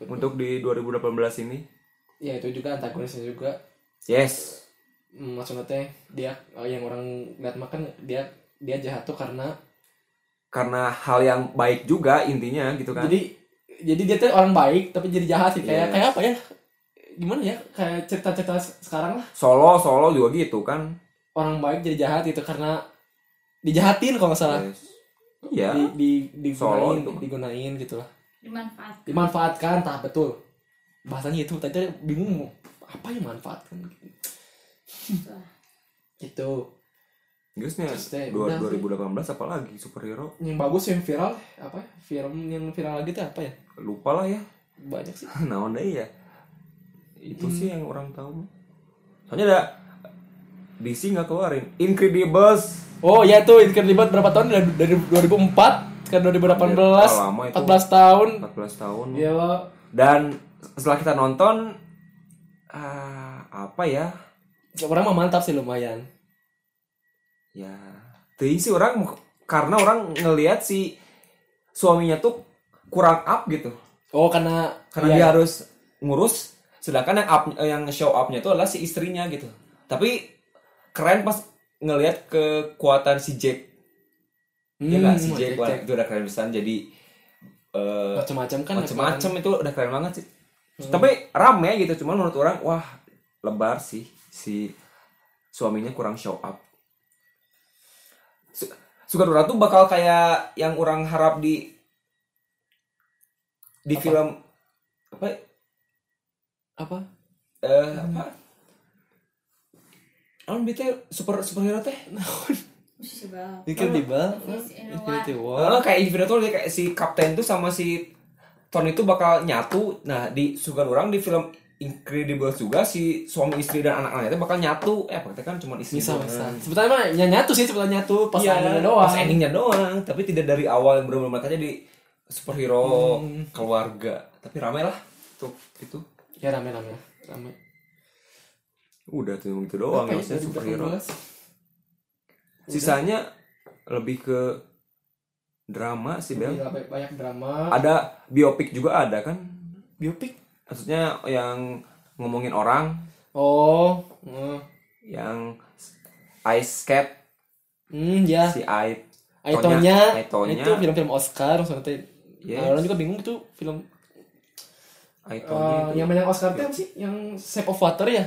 untuk di 2018 ini ya itu juga antagonisnya juga yes Hmm, maksudnya teh dia eh, yang orang lihat makan dia dia jahat tuh karena karena hal yang baik juga intinya gitu kan jadi jadi dia tuh orang baik tapi jadi jahat sih kayak Yes. kayak apa ya gimana ya kayak cerita-cerita se- sekarang lah Solo Solo juga gitu kan orang baik jadi jahat itu karena dijahatin kalau nggak salah Yes. iya di, di Solo digunain itu mah. digunain gitu lah Dimanfaat. dimanfaatkan tah betul bahasanya itu tadi teh bingung mau apa yang manfaatkan gitu Terusnya Terus deh, Iya, dua- udah sih. 2018 apalagi superhero yang bagus yang viral apa ya? film yang viral lagi itu apa ya lupa lah ya banyak sih naon deui ya itu Hmm. sih yang orang tahu soalnya ada DC nggak keluarin Incredibles oh ya tuh terlibat berapa tahun dari, dari 2004 ke 2018 Iya, lama itu. 14 tahun 14 tahun ya lo dan setelah kita nonton ah, apa ya Iya, orang mah mantap sih lumayan ya teuing sih orang karena orang ngelihat si suaminya tuh kurang up gitu oh karena karena iya, dia harus ngurus sedangkan yang up yang show upnya itu adalah si istrinya gitu tapi keren pas ngelihat kekuatan si Jack hmm, ya nggak si Jack, wah, Jack. itu udah keren besar jadi eh, macam-macam kan Hmm. macem-macem itu udah keren banget sih tapi rame gitu cuman menurut orang wah lebar sih si suaminya kurang show up Su- Sugar Dora tuh bakal kayak yang orang harap di di Apa? film apa apa eh Hmm. apa Alam bete super superhero teh. Coba. Incredible Infinity War. Infinity War Wah, kayak Infinity dia kayak si kapten tuh sama si Tony itu bakal nyatu. Nah, di sugan orang di film Incredible juga si suami istri dan anak-anaknya itu bakal nyatu. Eh, apa kan cuma istri. bisa doang. bisa sebetulnya mah ny- nyatu sih sebetulnya nyatu pas Iya, endingnya doang Pas endingnya doang, tapi tidak dari awal yang belum makanya di Hmm. superhero keluarga. Tapi rame lah. Tuh, gitu. itu. ya rame rame rame Udah tuh gitu doang Apa ya, ya, maksudnya superhero. 2018? Sisanya lebih ke drama sih, Bel. Gila, ba- Iya, ya? banyak drama Iya. Ada biopik juga ada kan? biopik maksudnya yang ngomongin orang oh Hmm. eh. yang ice skate hmm ya si Aid Aitonya, Aitonya itu film-film Oscar maksudnya teh. Yes. Nah, orang juga bingung tuh film Aitonya eh, itu, yang banyak Oscar teh apa sih yang Shape of Water ya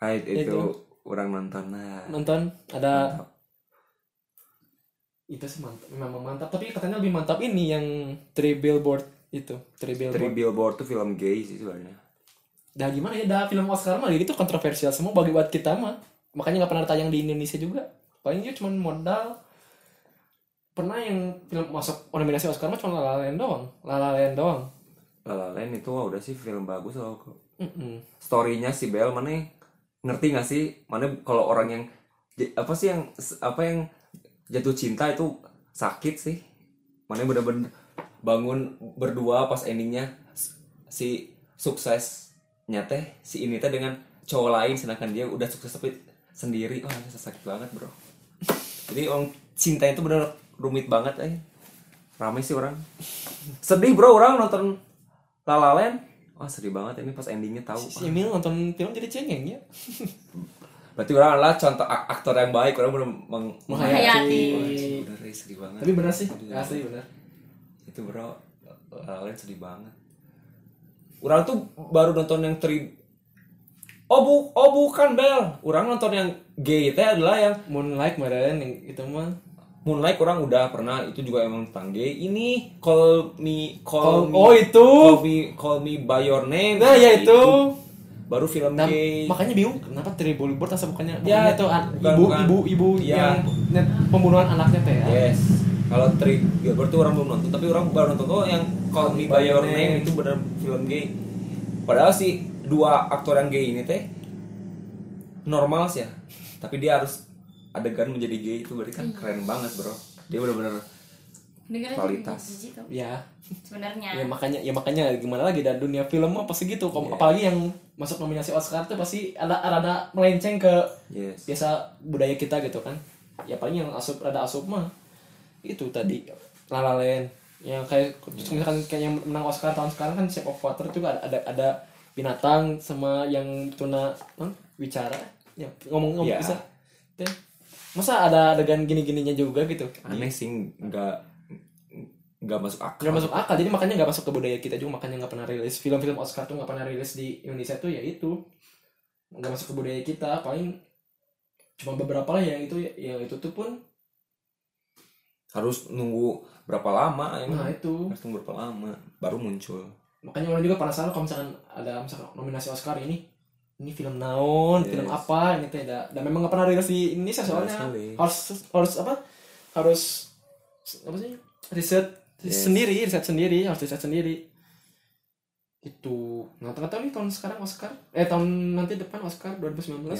Aid itu, itu. orang nonton nah nonton ada itu sih mantap memang mantap tapi katanya lebih mantap ini yang Three Billboard itu Three Three Billboard Billboard tuh film gay sih sebenarnya dah gimana ya dah film Oscar mah gitu kontroversial semua bagi buat kita mah makanya nggak pernah tayang di Indonesia juga paling dia cuma modal pernah yang film masuk nominasi Oscar mah cuma La La Land doang La La Land doang La La Land itu wah, udah sih film bagus loh Mm-mm. storynya si Bel mana ngerti nggak sih mana kalau orang yang j- apa sih yang apa yang jatuh cinta itu sakit sih mana bener-bener bangun berdua pas endingnya s- si suksesnya teh si ini teh dengan cowok lain sedangkan dia udah sukses tapi sendiri wah itu sakit banget bro Jadi orang cinta itu bener rumit banget eh. Rame sih orang. Sedih bro orang nonton La La Land. Wah sedih banget ini pas endingnya tahu. Si Emil nonton film jadi cengeng ya. Berarti orang adalah contoh ak- aktor yang baik. Orang belum meng Menghayati. Bener, eh, sedih banget. Iya. Tapi benar sih, asli benar. itu bro La La Land sedih banget orang tuh baru nonton yang tri oh bu oh bukan Bel orang nonton yang gay itu adalah yang Moonlight kemarin yang itu mah Moonlight orang udah pernah itu juga emang tentang gay ini call me Call- call, me oh, itu! call me call me by your name Nah, ya itu. baru film Nah, gay makanya bingung kenapa Terry Bulbord asa bukannya Ya, bukannya itu an- bukan, ah, ibu, bukan. ibu ibu Iya. yang net- pembunuhan anaknya teh ya. yes kalau tri Gilbert tuh orang belum nonton tapi orang baru nonton tuh yang call me by your name itu bener film gay padahal si dua aktor yang gay ini teh normal sih ya tapi dia harus adegan menjadi gay itu berarti kan keren banget bro dia bener-bener Dengarnya Kualitas. jijik tau. Ya. Ya Sebenarnya. makanya ya makanya gimana lagi dan dunia film mah pasti gitu. Kom- Apalagi yang masuk nominasi Oscar tuh pasti ada ada melenceng ke yes biasa budaya kita gitu kan. Ya paling yang asup rada asup mah itu tadi La La Land. Yang kayak terus misalkan kayak yang menang Oscar tahun sekarang kan Shape of Water juga ada ada, ada binatang sama yang tuna huh? bicara ya ngomong ngomong Ya. bisa Teh, masa ada adegan gini gininya juga gitu aneh sih nggak nggak masuk akal nggak masuk akal jadi makanya nggak masuk ke budaya kita juga makanya nggak pernah rilis film-film Oscar tuh nggak pernah rilis di Indonesia tuh ya itu nggak masuk ke budaya kita paling cuma beberapa lah yang itu yang itu tuh pun harus nunggu berapa lama emang nah itu harus nunggu berapa lama baru muncul makanya orang juga penasaran kalau misalkan ada misalkan nominasi Oscar ini ini film naon film Yes. apa ini teh da- dan memang nggak pernah rilis di Indonesia soalnya Sekali. harus harus apa harus apa sih riset Yes. sendiri riset sendiri harus riset sendiri itu nah nggak tahu nih tahun sekarang Oscar eh tahun nanti depan Oscar 2019 belum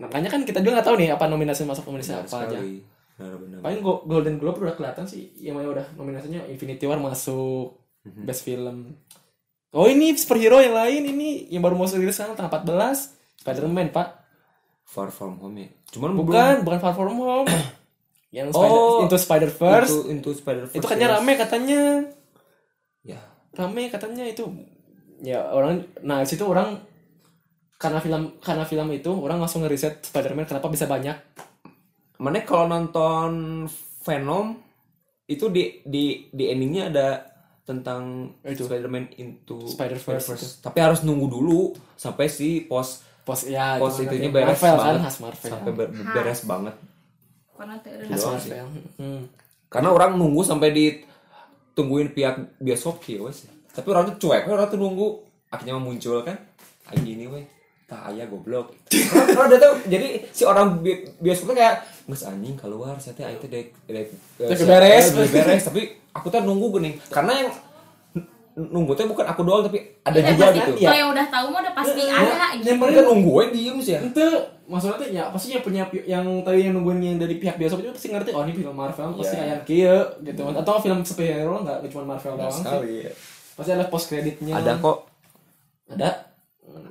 nah, makanya kan kita juga nggak tahu nih apa nominasi masuk nominasi Benar apa aja sekali. Benar-benar. paling Go- Golden Globe udah kelihatan sih yang mana udah nominasinya Infinity War masuk Mhm. best film oh ini superhero yang lain ini yang baru mau rilis sekarang tanggal 14 Spider-Man pak far from home ya cuman belum- bukan bukan Far From Home yang Spider Oh, Into Spider-Verse Into- into Spider-Verse, itu katnya yes. rame katanya ya rame katanya itu ya orang nah situ orang karena film karena film itu orang langsung ngeriset Spider-Man kenapa bisa banyak mana kalau nonton Venom itu di di di endingnya ada tentang Itu. Spider-Man into Spider-Verse tapi harus nunggu dulu sampai si pos pos ya pos gimana itunya ya, beres Marvel kan banget khas Marvel sampai ber- beres banget Karena tuh khas doang sih. Marvel Hmm. karena orang nunggu sampai ditungguin pihak bioskop ya wes tapi orang tuh cuek we, orang tuh nunggu akhirnya muncul kan ayo ini weh tak aya goblok orang udah tahu jadi si orang bi- bioskop tuh kayak mas anjing keluar saya teh aing teh dek dek eh, Dek saya- beres." eh, dek beres tapi aku tuh nunggu gini karena yang n- nunggu tuh bukan aku doang tapi ada Udah juga Eh, pasti, gitu Iya. iya. Kalau yang udah tahu mah udah pasti ada gitu. yang mereka nunggu we diem sih ya Itu maksudnya teh, ya pasti yang punya yang tadi yang nungguin yang dari pihak bioskop itu pasti ngerti oh ini film Marvel pasti Iya. kayak kieu gitu atau film superhero enggak cuma Marvel doang sih. sekali Pasti ada post kreditnya. ada kok Ada.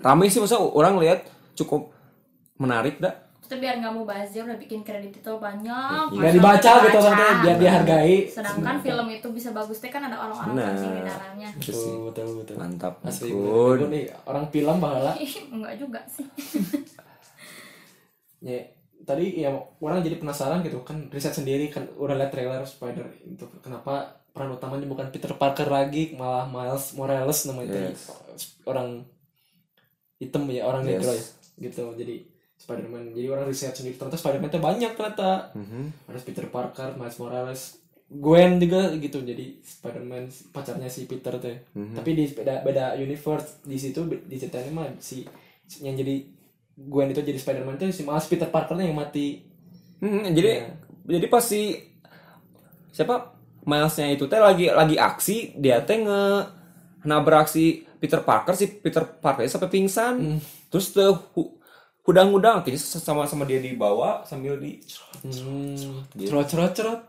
rame sih masa orang lihat cukup menarik dah Itu biar nggak mau bazir udah bikin kredit itu banyak. Biar dibaca gitu maksudnya biar dihargai. Sedangkan film itu bisa bagus teh kan ada orang-orang Benar. asing di dalamnya. Iya. Gitu Betul betul betul. Mantap, Asli Bun. bener. Bun, nih, orang film bahala. Enggak juga sih. Ya, tadi ya orang jadi penasaran gitu kan riset sendiri kan udah lihat trailer Spider itu kenapa peran utamanya bukan Peter Parker lagi malah Miles Morales namanya itu Yes. orang hitam ya orang Yes. negro ya gitu jadi Spider-Man jadi orang riset sendiri ternyata Spider-Man itu banyak ternyata ada Peter Parker Miles Morales Gwen juga gitu jadi Spider-Man pacarnya si Peter tuh ya. Nah. tapi di beda beda universe di situ be- di ceritanya mah si si- yang jadi Gwen itu jadi Spider-Man tuh si Miles Peter Parkernya yang mati Hmm, Iya. jadi jadi pas si siapa Milesnya itu teh lagi lagi aksi dia teh nge nabrak si Peter Parker si Peter Parker sampai pingsan Mhm. terus tuh hu- hudang-hudang akhirnya sama sama dia dibawa sambil di cerot cerot cerot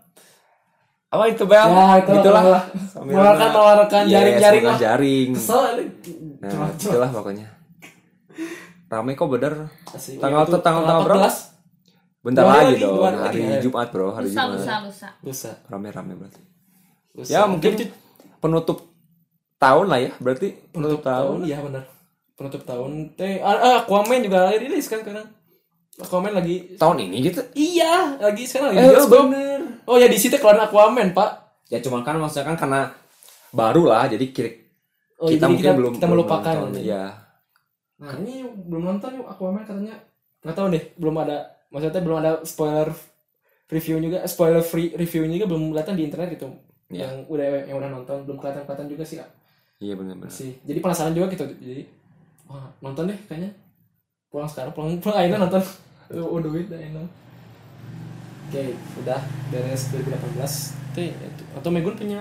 apa itu bel ya itu Gitulah. lah mengeluarkan mengeluarkan Yes, jaring jaring mengeluarkan lah Iya, jaring kesel nah, cerot cerot itulah pokoknya rame kok bener Asli, tanggal itu tanggal tanggal berapa 14. Bentar Dua lagi hari, dong. dua hari. ya. Hari Jumat, Bro. Hari lusa lusa Jumat. lusa lusa Rame-rame berarti. lusa. Ya, mungkin penutup tahun lah ya. Berarti penutup tahun ya benar penutup tahun teh ah, ah, Aquaman juga rilis kan sekarang Aquaman lagi Tahun ini gitu. iya lagi sekarang lagi Eh, bioskop. bener. oh ya di situ keluar Aquaman pak Ya cuman kan maksudnya kan karena baru lah jadi kira oh, jadi kita mungkin belum kita melupakan belum nonton. ya. nah ini belum nonton yuk Aquaman katanya nggak tahu deh belum ada maksudnya belum ada spoiler review juga spoiler free review juga belum kelihatan di internet gitu Iya. yang udah yang udah nonton belum kelihatan kelihatan juga sih Iya benar-benar. sih jadi penasaran juga gitu jadi wah nonton deh kayaknya pulang sekarang pulang pulang akhirnya nonton oh duit dah enak oke udah beres 2018 Tuh, itu- atau Megun punya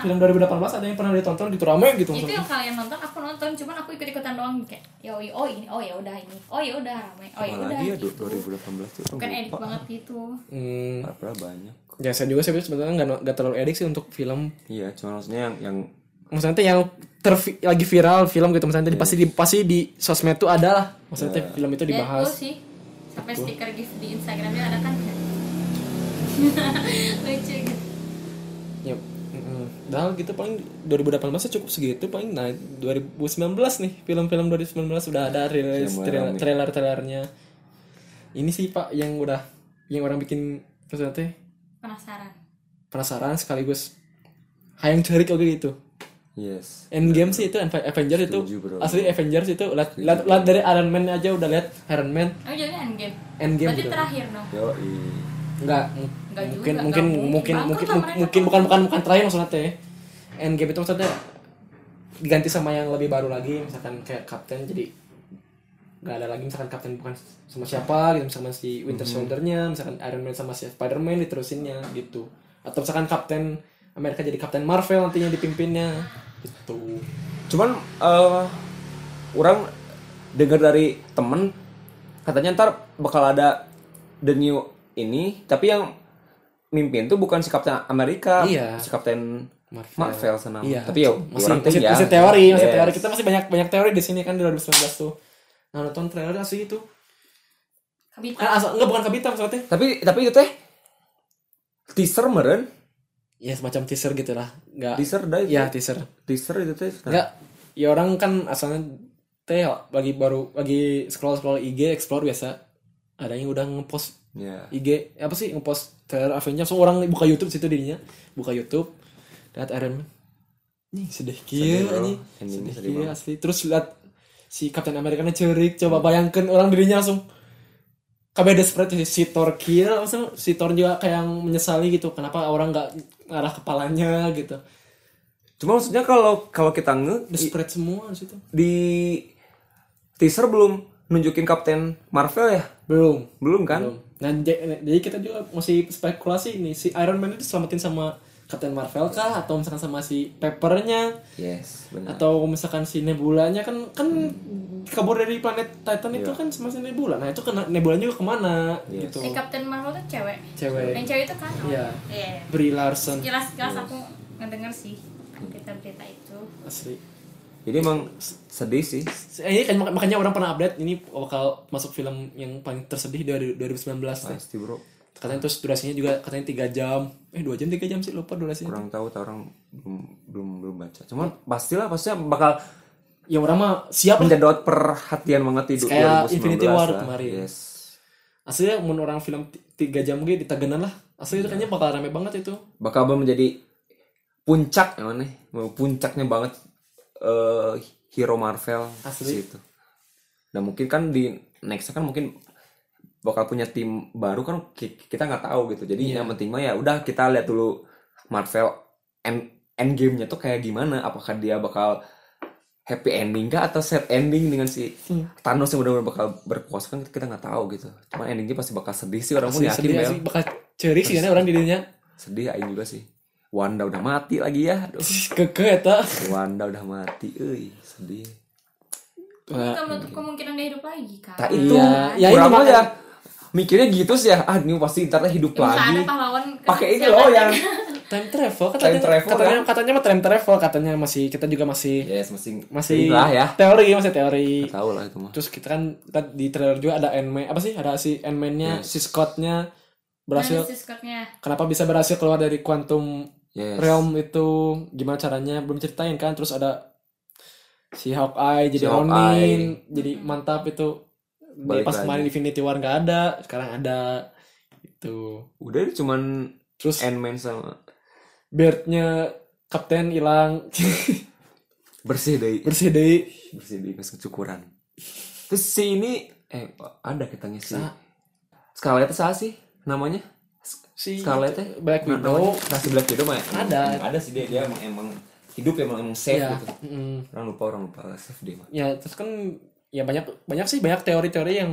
film 2018 ada yang pernah ditonton gitu rame gitu itu maksudnya. yang kalian nonton aku nonton cuman aku ikut ikutan doang kayak ya oh, oh ini oh ya udah ini oh ya udah ramai oh ya udah Apalagi ya gitu. 2018 tuh kan edik banget gitu hmm, Apalah banyak. ya saya juga sebenarnya sebenarnya nggak nggak terlalu edik sih untuk film Iya, cuma maksudnya yang yang maksudnya tuh yang tervi- lagi viral film gitu maksudnya tadi pasti di pasti di sosmed tuh ada lah maksudnya tuh film itu Deadpool dibahas Ya, sih sampai stiker gif di Instagramnya ada kan lucu gitu Ya, mm, dah gitu paling 2018 -nya cukup segitu paling nah 2019 nih film-film 2019 sudah ada rilis mulai trailer rame. trailer trailernya. Ini sih Pak yang udah yang orang bikin maksudnya teh penasaran penasaran sekaligus hayang cari kayak gitu. yes. Endgame sih itu Ava- Avengers itu Setuju, bro. asli Avengers itu lihat lihat lihat dari Iron Man aja udah lihat Iron Man oh jadi endgame Endgame berarti gitu. terakhir dong Yo, Enggak, m- Enggak juga, mungkin enggak mungkin mungkin. mungkin Bangkrut mungkin lah mungkin, mereka. bukan bukan bukan terakhir maksudnya teh. Endgame itu maksudnya diganti sama yang lebih baru lagi misalkan kayak Captain jadi nggak ada lagi misalkan Captain bukan sama siapa gitu misalkan si Winter Mhm. Soldier-nya misalkan Iron Man sama si Spider-Man diterusinnya gitu atau misalkan Captain Amerika jadi Captain Marvel nantinya dipimpinnya gitu Cuman eh orang dengar dari temen katanya ntar bakal ada the new ini, tapi yang mimpin tuh bukan si Kapten Amerika, Iya. si Kapten Marvel. Marvel senang. Iya. Tapi ya masih orang masih, ya. masih teori, masih Yes. teori. Kita masih banyak banyak teori di sini kan di 2019 tuh. Nah, nonton trailer asli itu. kabita Ah, asal, enggak bukan kebitam maksudnya. Tapi tapi itu teh teaser meren, ya semacam teaser gitu lah nggak teaser dah itu. ya teaser Teaser itu teh. nggak ya orang kan asalnya teh bagi baru bagi scroll scroll IG explore biasa ada yang udah ngepost Ya. IG apa sih ngepost trailer Avengers so, orang buka YouTube situ dirinya buka YouTube lihat Iron Man nih sedih kieu Sedih, bro. anjing Endingnya sedih sedih kieu banget. asli terus lihat si Captain America nya cerik coba bayangkan orang dirinya langsung kabeh desperate sih si Thor kieu langsung si Thor juga kayak yang menyesali gitu kenapa orang nggak ngarah kepalanya gitu Cuma maksudnya kalau kalau kita nge i- desperate semua di situ di teaser belum nunjukin Kapten Marvel ya? belum Belum kan? belum nah j- jadi kita juga masih spekulasi nih si Iron Man itu diselamatin sama Captain Marvel kah atau misalkan sama si Peppernya Yes, benar. Nah. atau misalkan si nebulanya kan kan Hmm. kabur dari planet Titan Iya. itu kan semacam nebula nah itu kena nebulanya juga kemana Yes. gitu si Captain Marvel tuh cewek Eh, yang cewek cewek itu kan oh. Iya. Iya. Brie Larson jelas jelas aku ngedenger sih berita berita itu asli Jadi emang sedih sih. Eh, ini kan mak- makanya orang pernah update ini bakal masuk film yang paling tersedih dari 2019 teh. Pasti bro. katanya terus durasinya juga katanya 3 jam eh 2 jam 3 jam sih lupa durasinya Kurang tahu tau orang belum belum belum baca. Cuman pastilah pastinya bakal ya orang mah siap lah. menjadot perhatian banget di du- Kayak 2019 Infinity War lah. kemarin. Yes. aslinya mun orang film 3 jam gitu ditagenan lah asli itu Iya. kayaknya bakal rame banget itu Bakal menjadi puncak ya, namanya. Puncaknya banget eh hero Marvel Asli. di situ. Nah, mungkin kan di next kan mungkin bakal punya tim baru kan ki- kita nggak tahu gitu. Jadi yang penting mah ya udah kita lihat dulu Marvel end end game-nya tuh kayak gimana? Apakah dia bakal happy ending kah atau sad ending dengan si Thanos yang benar-benar bakal berkuasa kan kita nggak tahu gitu. Cuman endingnya pasti bakal sedih sih orang pun asli yakin ya. sedih Mel. asli bakal cerik sih karena orang dirinya Sedih aing juga sih. Wanda udah mati lagi ya. Aduh. keke eta Wanda udah mati, euy, sedih. Nah, kan menutup kemungkinan dia hidup lagi kan Tak itu. ya Orang ini mah makanya. Iya, ya mikirnya gitu sih ya. Ah, ini pasti ntar hidup Ya, masa lagi. ada pahlawan Pakai ini siapa kan? loh sih? yang time travel katanya Time travel, Iya. katanya kan? katanya mah time travel katanya masih kita juga masih Yes, masih masih lah ya. teori masih teori Tahu lah itu mah. terus kita kan kita di trailer juga ada Ant-Man apa sih ada si Ant-Man-nya Yes. si Scott-nya berhasil Nah, Discord-nya. kenapa bisa berhasil keluar dari quantum Yes. realm itu gimana caranya belum ceritain kan terus ada si Hawkeye jadi Si Hawkeye. Ronin jadi mantap itu Di- Balik pas lagi. kemarin Infinity War nggak ada sekarang ada itu Udah itu cuman terus Ant-Man sama beardnya kapten hilang bersih deh, bersih deh bersih deh pas kecukuran. Terus si ini eh ada katanya si Sa- Scarlet salah sih namanya? si Scarlet ya? Black Widow Nah, si Black Widow mah Ada. Ada sih dia dia emang emang hidup emang emang safe ya gitu. mm. Orang lupa orang lupa safe dia mah. ya terus kan ya banyak banyak sih banyak teori-teori yang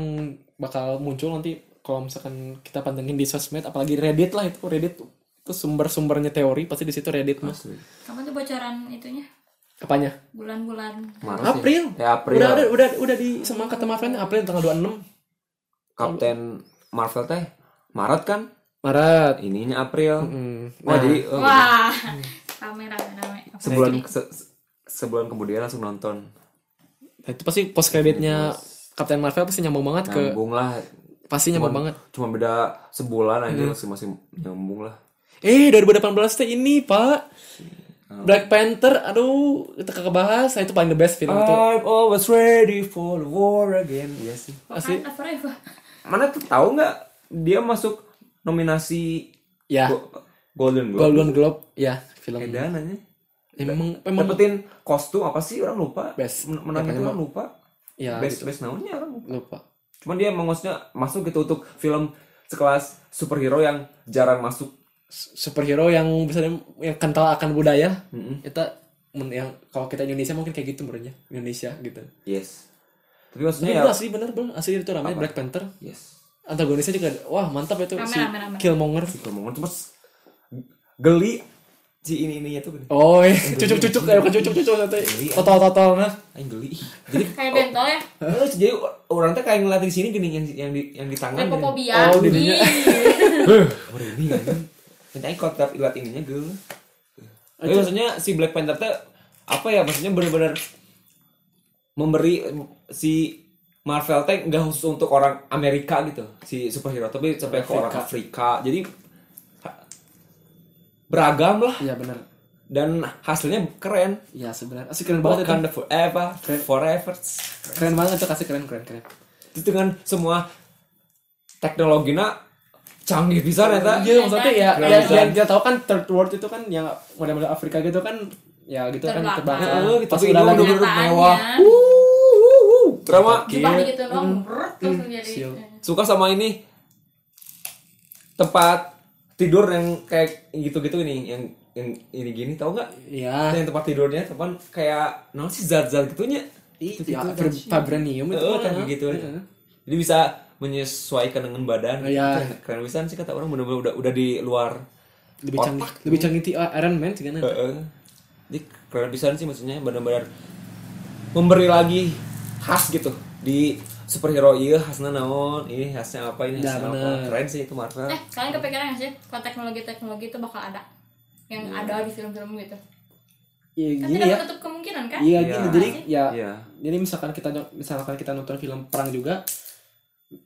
bakal muncul nanti kalau misalkan kita pantengin di sosmed apalagi Reddit lah itu Reddit itu sumber-sumbernya teori pasti di situ Reddit mas Asli. Kamu tuh bocoran itunya apanya bulan-bulan. Maret sih. April. Ya April. Udah, udah, udah, udah di sama kata Marvel April tanggal 26 Kapten Marvel teh Maret kan? Maret. Ininya April. Hmm. Wah, jadi oh, Wah, rame rame rame. sebulan se- se- sebulan kemudian langsung nonton. Nah, itu pasti post kreditnya Captain Marvel pasti nyambung banget ke Nyambung lah. pasti nyambung banget. Cuma beda sebulan aja masih masih nyambung lah. Eh, 2018 teh ini, Pak. Black Panther, aduh, itu kagak bahas. Nah, Itu paling the best film itu. I'm always ready for the war again. Iya sih. Pasti Wakanda forever. Mana tuh tahu nggak dia masuk nominasi ya, Go- Golden Globe. Golden Globe, ya, film. Edan aja. Emang emang Dapetin kostum apa sih orang lupa. Best. Men- Menang itu Dapetnya orang lupa. ya best gitu. best naonnya orang lupa. Lupa. Cuman dia emang maksudnya masuk gitu untuk film sekelas superhero yang jarang masuk. S- Superhero yang bisa di- yang kental akan budaya. Kita men- yang kalau kita Indonesia mungkin kayak gitu menurutnya. Indonesia gitu. Iya. Yes. Tapi Tapi maksudnya ya. bener asli bener bener asli itu ramai Black Panther Yes. antagonisnya juga wah mantap itu Rame, si rame, rame. Killmonger Ngomong Gitu, cuma s- geli si ini ininya tuh gini. oh iya. cucuk cucuk eh bukan cucuk cucuk nanti Iya. total total nah Aing geli. Jadi Kayak bentol ya. terus jadi orang teh kayak ngeliatin sini gini yang yang di yang di tangan. gitu. gini. Lepopobia. Oh, dirinya. Merinding anjing. Minta aing kontrak lihat ininya dulu. Tapi maksudnya si Black Panther teh apa ya maksudnya bener-bener memberi si Marvel teh nggak khusus untuk orang Amerika gitu si superhero tapi sampai ke orang Afrika jadi ha- beragam lah iya bener dan hasilnya keren iya sebenarnya asli keren banget itu Wakanda forever forever keren banget itu kasih keren keren keren itu dengan semua teknologinya canggih pisan ya iya maksudnya ya Keren, ya keren. yang kita tahu kan third world itu kan yang model-model Afrika gitu kan ya gitu kan Terbakar. terbakar Eh, pas tapi udah ini lagi bener-bener Kenyataannya. mewah. Wuh, wuh, wuh. Drama. Jepang gitu doang. brrrt, Terus jadi. siap. Suka sama ini tempat tidur yang kayak gitu-gitu ini yang yang ini gini tau nggak? ya Yang tempat tidurnya teman kayak non sih zat-zat gitunya. itu ya vib- vibranium itu Eh, kan kayak gitu. Jadi bisa menyesuaikan dengan Oh, badan. iya. Keren- Keren pisan sih kata orang bener-bener udah udah di luar. lebih canggih lebih canggih ti ah, Iron Man segala Heeh. Jadi keren pisan sih maksudnya benar-benar memberi lagi khas gitu di superhero iya khasnya naon ini khasnya apa ini Ya, khasnya apa bener. keren sih itu Marvel Eh, kalian kepikiran nggak sih kalau teknologi-teknologi itu bakal ada yang ada di film-film gitu? iya Kan gini tidak ya menutup kemungkinan kan? Iya Iya. gitu. Jadi ya Iya. jadi misalkan kita misalkan kita nonton film perang juga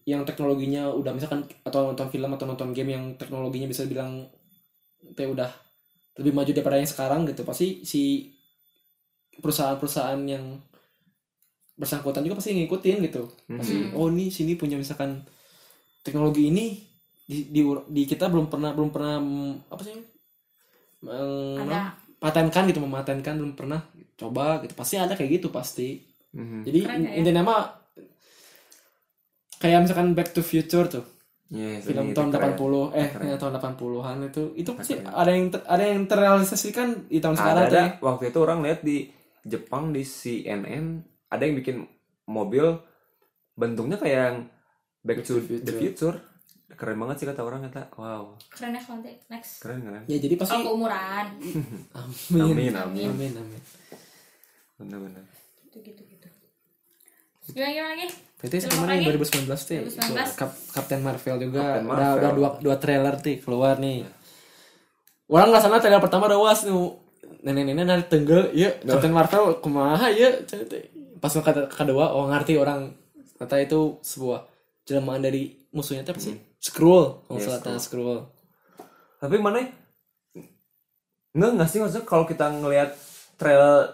yang teknologinya udah misalkan atau nonton film atau nonton game yang teknologinya bisa bilang teh udah lebih maju daripada yang sekarang gitu pasti si perusahaan-perusahaan yang bersangkutan juga pasti ngikutin gitu Hmm. pasti Mhm. oh nih sini punya misalkan teknologi ini di, di, di kita belum pernah belum pernah mm, apa sih Meng- Ada. patenkan gitu mematenkan belum pernah coba gitu pasti ada kayak gitu pasti Mhm. jadi Keren ya? intinya mah kayak misalkan Back to Future tuh Yes, film ini tahun Iya, keren. 80 eh Keren. ya, tahun 80-an itu itu pasti Keren. ada yang ter- ada yang terrealisasikan di tahun ada, sekarang tuh ada. ya. waktu itu orang lihat di Jepang di CNN ada yang bikin mobil bentuknya kayak yang Back to the Future keren banget sih kata orang kata wow Keren ya kalau nanti next. keren keren ya jadi pasti Kalau keumuran, Hmm. amin amin amin amin amin benar-benar gitu-gitu gitu. Gimana gimana lagi? Berarti Film kemarin apa yang 2019 tuh ya, 2019. Cap- Captain Marvel juga Captain udah Marvel. udah dua dua trailer tuh keluar nih. orang nggak sana trailer pertama udah was nu nenek-nenek nari tenggel iya Captain Marvel kumaha iya cenah teh. pas nu kada kedua oh ngerti orang kata itu sebuah jelmaan dari musuhnya teh apa sih scroll kalau Iya, salah tah, scroll Tapi mana? Enggak enggak sih maksudnya kalau kita ngelihat trailer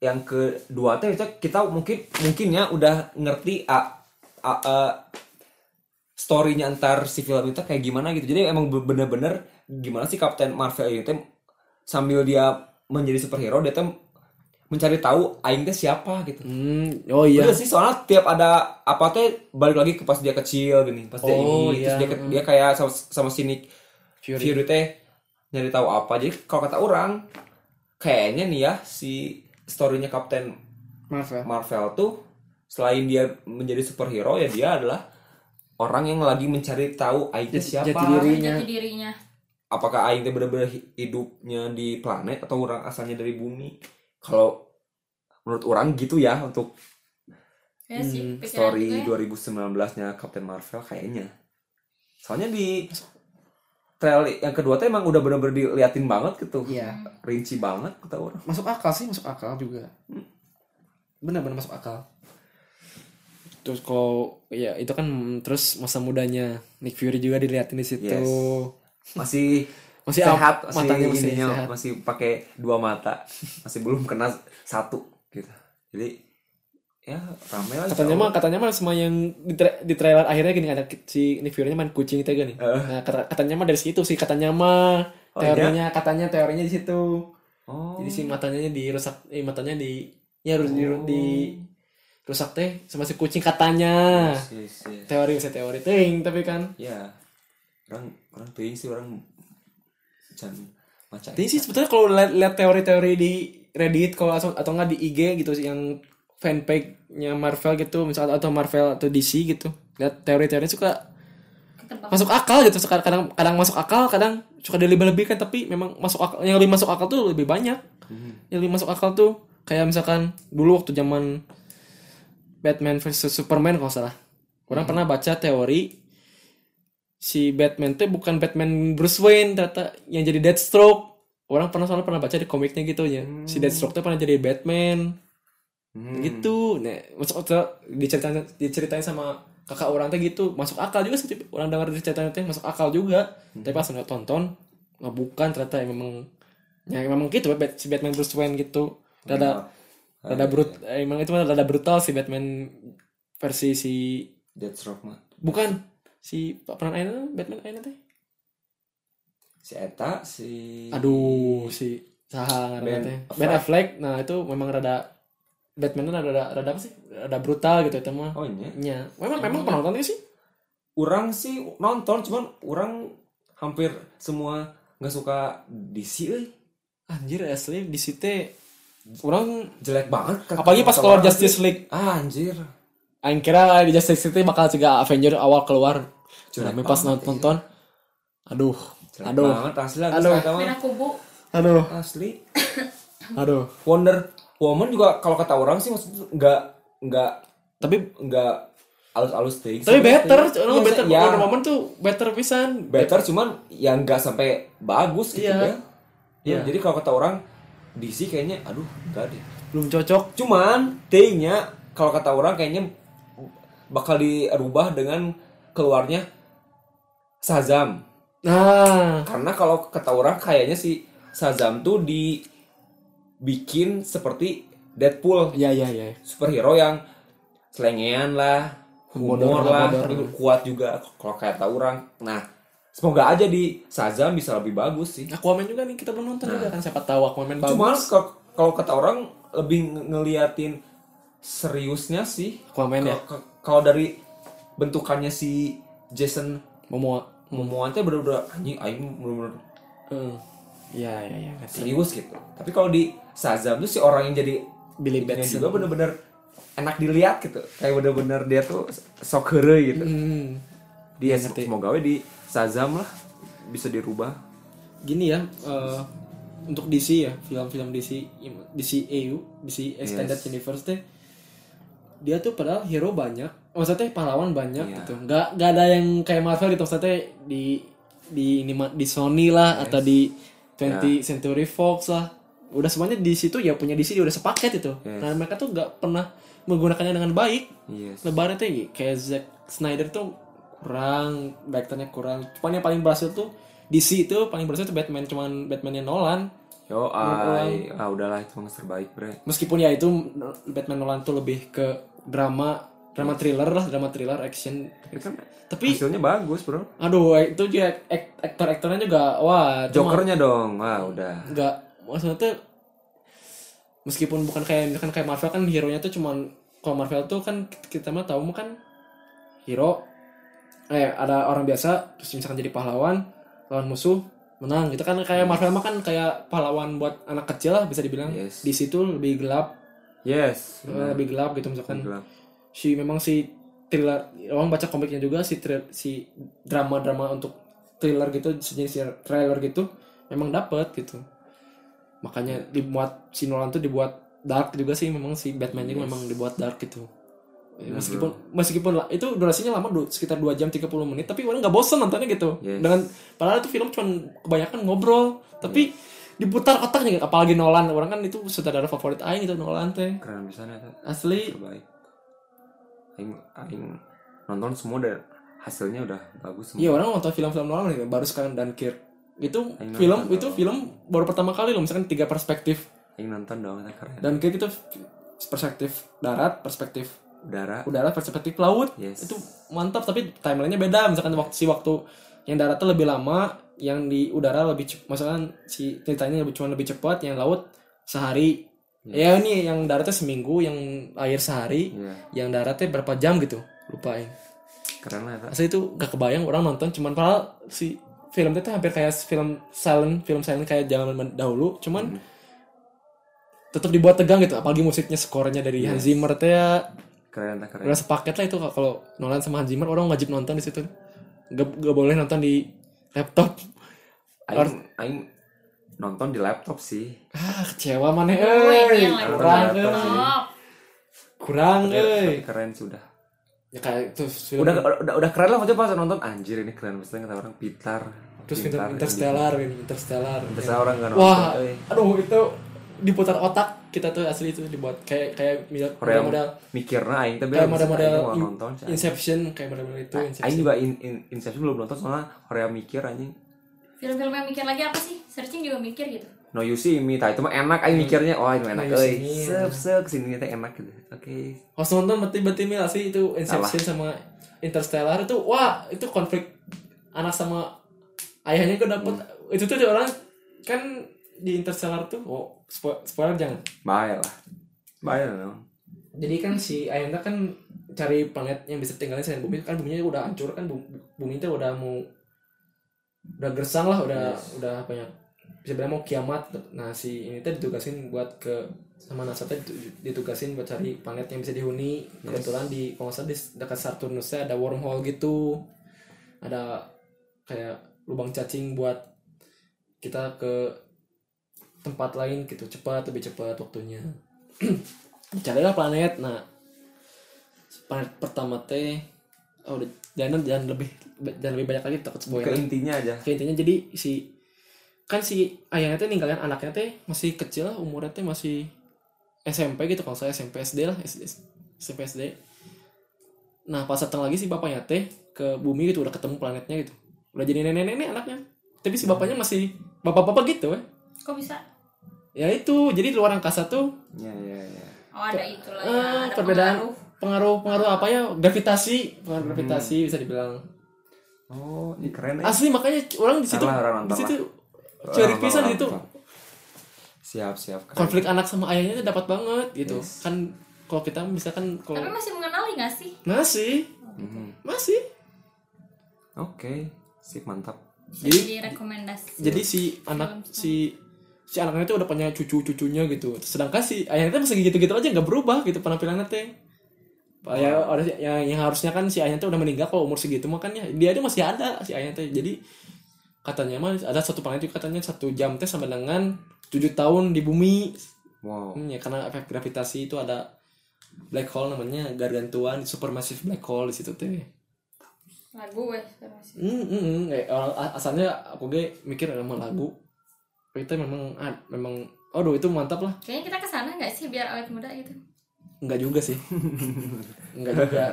yang kedua teh itu kita mungkin mungkin ya udah ngerti a, a, a story-nya antar si film itu kayak gimana gitu. Jadi emang bener-bener gimana sih Kapten Marvel itu teh sambil dia menjadi superhero dia teh mencari tahu aing teh siapa gitu. hmm oh iya Udah sih soalnya tiap ada apa teh balik lagi ke pas dia kecil gini, pas dia Oh, ini, iya. terus dia, ke- dia kayak sama, sama sinik Fury. Fury teh nyari tahu apa. Jadi kalau kata orang kayaknya nih ya si storynya Kapten Marvel Marvel tuh selain dia menjadi superhero ya dia adalah orang yang lagi mencari tahu aing teh Jati- siapa. jati diri. Dirinya. Jati dirinya Apakah aing teh benar-benar hi- hidupnya di planet atau orang asalnya dari bumi? Kalau menurut orang gitu ya untuk ya sih Hmm, pikiran story gue 2019-nya Captain Marvel kayaknya. Soalnya di trailer yang kedua tuh emang udah bener-bener diliatin banget gitu. iya Hmm, Rinci banget kata orang. masuk akal sih masuk akal juga benar-benar masuk akal terus kalau ya itu kan terus masa mudanya Nick Fury juga dilihatin di situ Yes. Masih Masih sehat, up, masih matanya masih ininya, sehat. masih pakai dua mata. Masih belum kena satu gitu. Jadi ya rame lah. katanya mah katanya mah semua yang di, tra- di trailer akhirnya gini ada ki- si Nick Fury-nya main kucing tega nih. Eh. Nah, kata- katanya mah dari situ sih katanya mah Oh, teorinya katanya teorinya di situ. Oh. Jadi si matanya dirusak eh, matanya di ya harus di, Oh. di- rusak teh sama si kucing katanya. Oh, Yes, yes, yes. Teori saya teori ting tapi kan. Ya. Orang orang tuh sih orang can maca. Tapi sih sebetulnya kalau lihat lihat teori-teori di Reddit kalau atau, atau enggak di IG gitu sih, yang fanpage-nya Marvel gitu misalnya atau Marvel atau DC gitu. Lihat teori-teori suka ketebak masuk akal gitu Sekad- kadang kadang masuk akal kadang suka dilebih lebihkan tapi memang masuk akal yang lebih masuk akal tuh lebih banyak yang lebih masuk akal tuh kayak misalkan dulu waktu zaman Batman versus Superman kalau salah orang pernah baca teori si Batman tuh bukan Batman Bruce Wayne ternyata yang jadi Deathstroke orang pernah soalnya pernah baca di komiknya gitu ya si Deathstroke tuh pernah jadi Batman Hmm. gitu nah masuk akal diceritain diceritain sama kakak orang teh gitu masuk akal juga sih Cip. orang dengar ceritanya teh masuk akal juga Hmm. tapi pas nggak tonton nggak bukan ternyata yang memang ya memang gitu Bat- si Batman Bruce Wayne gitu rada Iya. rada brut eh, emang itu mah rada brutal si Batman versi si Deathstroke mah. bukan si peran Aina Batman Aina teh si Eta si aduh si saha Iya. Ben ngaranna teh Affleck. Ben Affleck nah itu memang rada Batman tuh rada rada apa sih rada brutal gitu itu mah oh ini Ya, memang memang penontonnya sih. orang sih nonton cuman orang hampir semua nggak suka eh. DC euy. Anjir asli di situ orang jelek banget kata- apalagi pas kata keluar orang. Justice League. ah, anjir Aing kira di Justice League bakal juga Avenger awal keluar. Jelek Tapi pas banget, iya. nonton aduh, jelek aduh, banget asli lah Aduh. kata orang. Beda kubu aduh, asli aduh. Wonder Woman juga kalau kata orang sih maksudnya nggak nggak Tapi nggak alus-alus ting tapi better, orang Iya, better ya, Wonder Woman tuh better pisan. better cuman yang nggak sampai bagus gitu Iya. ya Iya. Ya, jadi kalau kata orang DC kayaknya aduh enggak deh Belum cocok. Cuman T-nya kalau kata orang kayaknya bakal dirubah dengan keluarnya Shazam. Nah, Karena kalau kata orang kayaknya si Shazam tuh dibikin seperti Deadpool, ya ya ya. superhero yang selengean lah, humor Bodor lah, lah, bodor. tapi kuat juga kalau kata orang. Nah, semoga aja di Shazam bisa lebih bagus sih. Aquaman juga nih kita belum Nah. nonton juga kan siapa tahu Aquaman bagus. Cuman kalau- kalau kata orang lebih nge- ngeliatin seriusnya sih Aquaman ya. Kalau- kalau- Kalau dari bentukannya si Jason Momoa. Momoa teh bener-bener anjing aing bener-bener Heeh. Iya ya ya. ngerti. serius gitu. Tapi kalau di Shazam tuh si orang yang jadi Billy itunya Batson. juga bener-bener enak dilihat gitu. Kayak bener-bener dia tuh sok heureuy gitu. Hmm. Dia ngerti. semoga we di Shazam lah bisa dirubah. gini ya eh, untuk DC ya film-film DC DC EU DC Extended Yes. Universe teh dia tuh padahal hero banyak maksudnya pahlawan banyak Iya. gitu nggak nggak ada yang kayak Marvel gitu maksudnya di di ini ma- di Sony lah atau di Iya. 20 Century Fox lah udah semuanya di situ ya punya DC udah sepaket itu Yes. nah mereka tuh nggak pernah menggunakannya dengan baik Yes. lebaran tuh ya, kayak Zack Snyder tuh kurang directornya kurang cuman yang paling berhasil tuh DC itu paling berhasil tuh Batman cuman Batmannya Nolan Yo, ay, ah udahlah itu mah terbaik, Bre. meskipun ya itu Batman Nolan tuh lebih ke drama drama thriller lah drama thriller action Tapi kan tapi hasilnya bagus, Bro. aduh itu juga ak- aktor-aktornya juga wah itu mah Jokernya dong. Wah, udah. nggak maksudnya tuh meskipun bukan kayak misalkan kayak Marvel kan hero nya tuh cuman kalau Marvel tuh kan kita mah tahu mah kan hero eh ada orang biasa terus misalkan jadi pahlawan lawan musuh menang gitu kan kayak Marvel mah kan kayak pahlawan buat anak kecil lah bisa dibilang Yes. di situ lebih gelap Yes. eh, lebih gelap gitu misalkan Gila. si memang si thriller orang baca komiknya juga si thriller, si drama drama untuk thriller gitu sejenis trailer gitu memang dapat gitu makanya dibuat si Nolan tuh dibuat dark juga sih memang si Batman juga memang dibuat dark gitu Ya, meskipun meskipun la- itu durasinya lama du- sekitar 2 jam 30 menit tapi orang nggak bosen nontonnya gitu Yes. dengan padahal itu film cuman kebanyakan ngobrol tapi diputar otaknya gitu. apalagi Nolan orang kan itu sutradara favorit aing itu Nolan teh Keren pisan eta. asli Terbaik. Aing aing nonton semua dan hasilnya udah bagus semua. Iya orang nonton film-film Nolan gitu, baru sekarang Dunkirk itu Aing nonton film dong. itu film baru pertama kali loh misalkan tiga perspektif Aing nonton dong eta keren. Dunkirk itu perspektif darat perspektif Udara. udara perspektif laut Yes. itu mantap tapi timelinenya beda misalkan waktu si waktu yang daratnya lebih lama yang di udara lebih cepat misalkan si ceritanya lebih cuma lebih cepat yang laut sehari Hmm. ya ini yang daratnya seminggu yang air sehari Iya, yang daratnya berapa jam gitu lupain keren lah eta. Asli itu gak kebayang orang nonton cuman padahal si film itu hampir kayak film silent, film silent kayak zaman dahulu, Hmm, cuman tetap dibuat tegang gitu, apalagi musiknya skornya dari Hans Zimmer teh ya, Keren eta keren. udah sepaket lah itu kalau Nolan sama Hans Zimmer orang wajib nonton di situ. Gak, gak boleh nonton di laptop. Aing aing nonton di laptop sih. Ah, kecewa mana Wih, euy. yang Nonton di Kurang laptop euy. sih. Oh, Kurang Tapi- tapi euy. keren sudah. Ya kayak itu film Udah udah udah keren lah maksudnya pas nonton anjir ini keren pasti kata orang pintar. iya. terus film Interstellar, film Interstellar. Terus orang nggak nonton. Wah, euy. aduh itu diputar otak kita tuh asli itu dibuat kayak kayak model Orang model mikirnya aing tapi kayak model-model in- nonton. sih, aing. Inception kayak model-model itu Aing Inception. juga in, in, Inception belum nonton soalnya Korea mikir anjing. film-film yang mikir lagi apa sih searching juga mikir gitu No you see me, tah itu mah enak aing mikirnya. Oh, itu enak Hmm. No you see euy. me, Sep enak. sep sini teh enak gitu. Oke. Pas nonton berarti berarti mil asli itu Inception sama Interstellar itu wah itu konflik anak sama ayahnya gue dapet itu tuh dia orang kan di Interstellar tuh oh spo- spoiler jangan Bye lah. Bye lah. no. jadi kan si Ayanda kan cari planet yang bisa tinggalin selain bumi kan buminya udah hancur kan bu- bumi itu udah mau udah gersang lah udah Yes. udah apa ya bisa bilang mau kiamat nah si ini teh ditugasin buat ke sama NASA teh ditu- ditugasin buat cari planet yang bisa dihuni kebetulan di kalau nggak salah di dekat Saturnus teh ada wormhole gitu ada kayak lubang cacing buat kita ke tempat lain gitu cepat lebih cepat waktunya carilah planet nah planet pertama teh oh udah, jangan jangan lebih jangan lebih banyak lagi takut Ke spoiler intinya aja. Oke, intinya jadi si kan si ayahnya teh ninggalin anaknya teh masih kecil lah, umurnya teh masih SMP gitu kalau saya SMP SD lah SD, SMP SD nah pas datang lagi si bapaknya teh ke bumi gitu udah ketemu planetnya gitu udah jadi nenek-nenek anaknya tapi si bapaknya masih bapak-bapak gitu eh. kok bisa ya itu jadi di luar angkasa tuh Iya, ya, iya, iya. oh ada itulah ya eh, ada perbedaan pengaruh. pengaruh pengaruh apa ya gravitasi pengaruh Hmm. gravitasi bisa dibilang Oh, ini keren Oh, ya. asli makanya orang di situ Ntar lah, orang nonton di situ Orang cari nonton, pisan orang di situ nonton. Siap, siap. keren. konflik anak sama ayahnya itu dapat banget gitu Yes. kan kalau kita misalkan tapi kalau masih mengenali gak sih masih Mhm. masih Oke, sip mantap. Jadi- jadi rekomendasi jadi si anak si si anaknya itu udah punya cucu cucunya gitu sedangkan si ayahnya itu masih gitu gitu aja nggak berubah gitu penampilannya teh ya orang yang, yang harusnya kan si ayahnya tuh udah meninggal kalau umur segitu makanya dia itu masih ada si ayahnya teh jadi katanya mah ada satu planet itu katanya satu jam teh sama dengan tujuh tahun di bumi Wow. Hmm, ya karena efek gravitasi itu ada black hole namanya gargantuan supermassive black hole di situ teh. lagu weh sekarang sih. Hmm, hmm, hmm. Kayak, eh, asalnya aku ge mikir emang lagu. Oh, itu memang ah, memang aduh itu mantap lah Kayaknya kita kesana nggak sih biar awet muda gitu? Enggak juga sih. Enggak juga.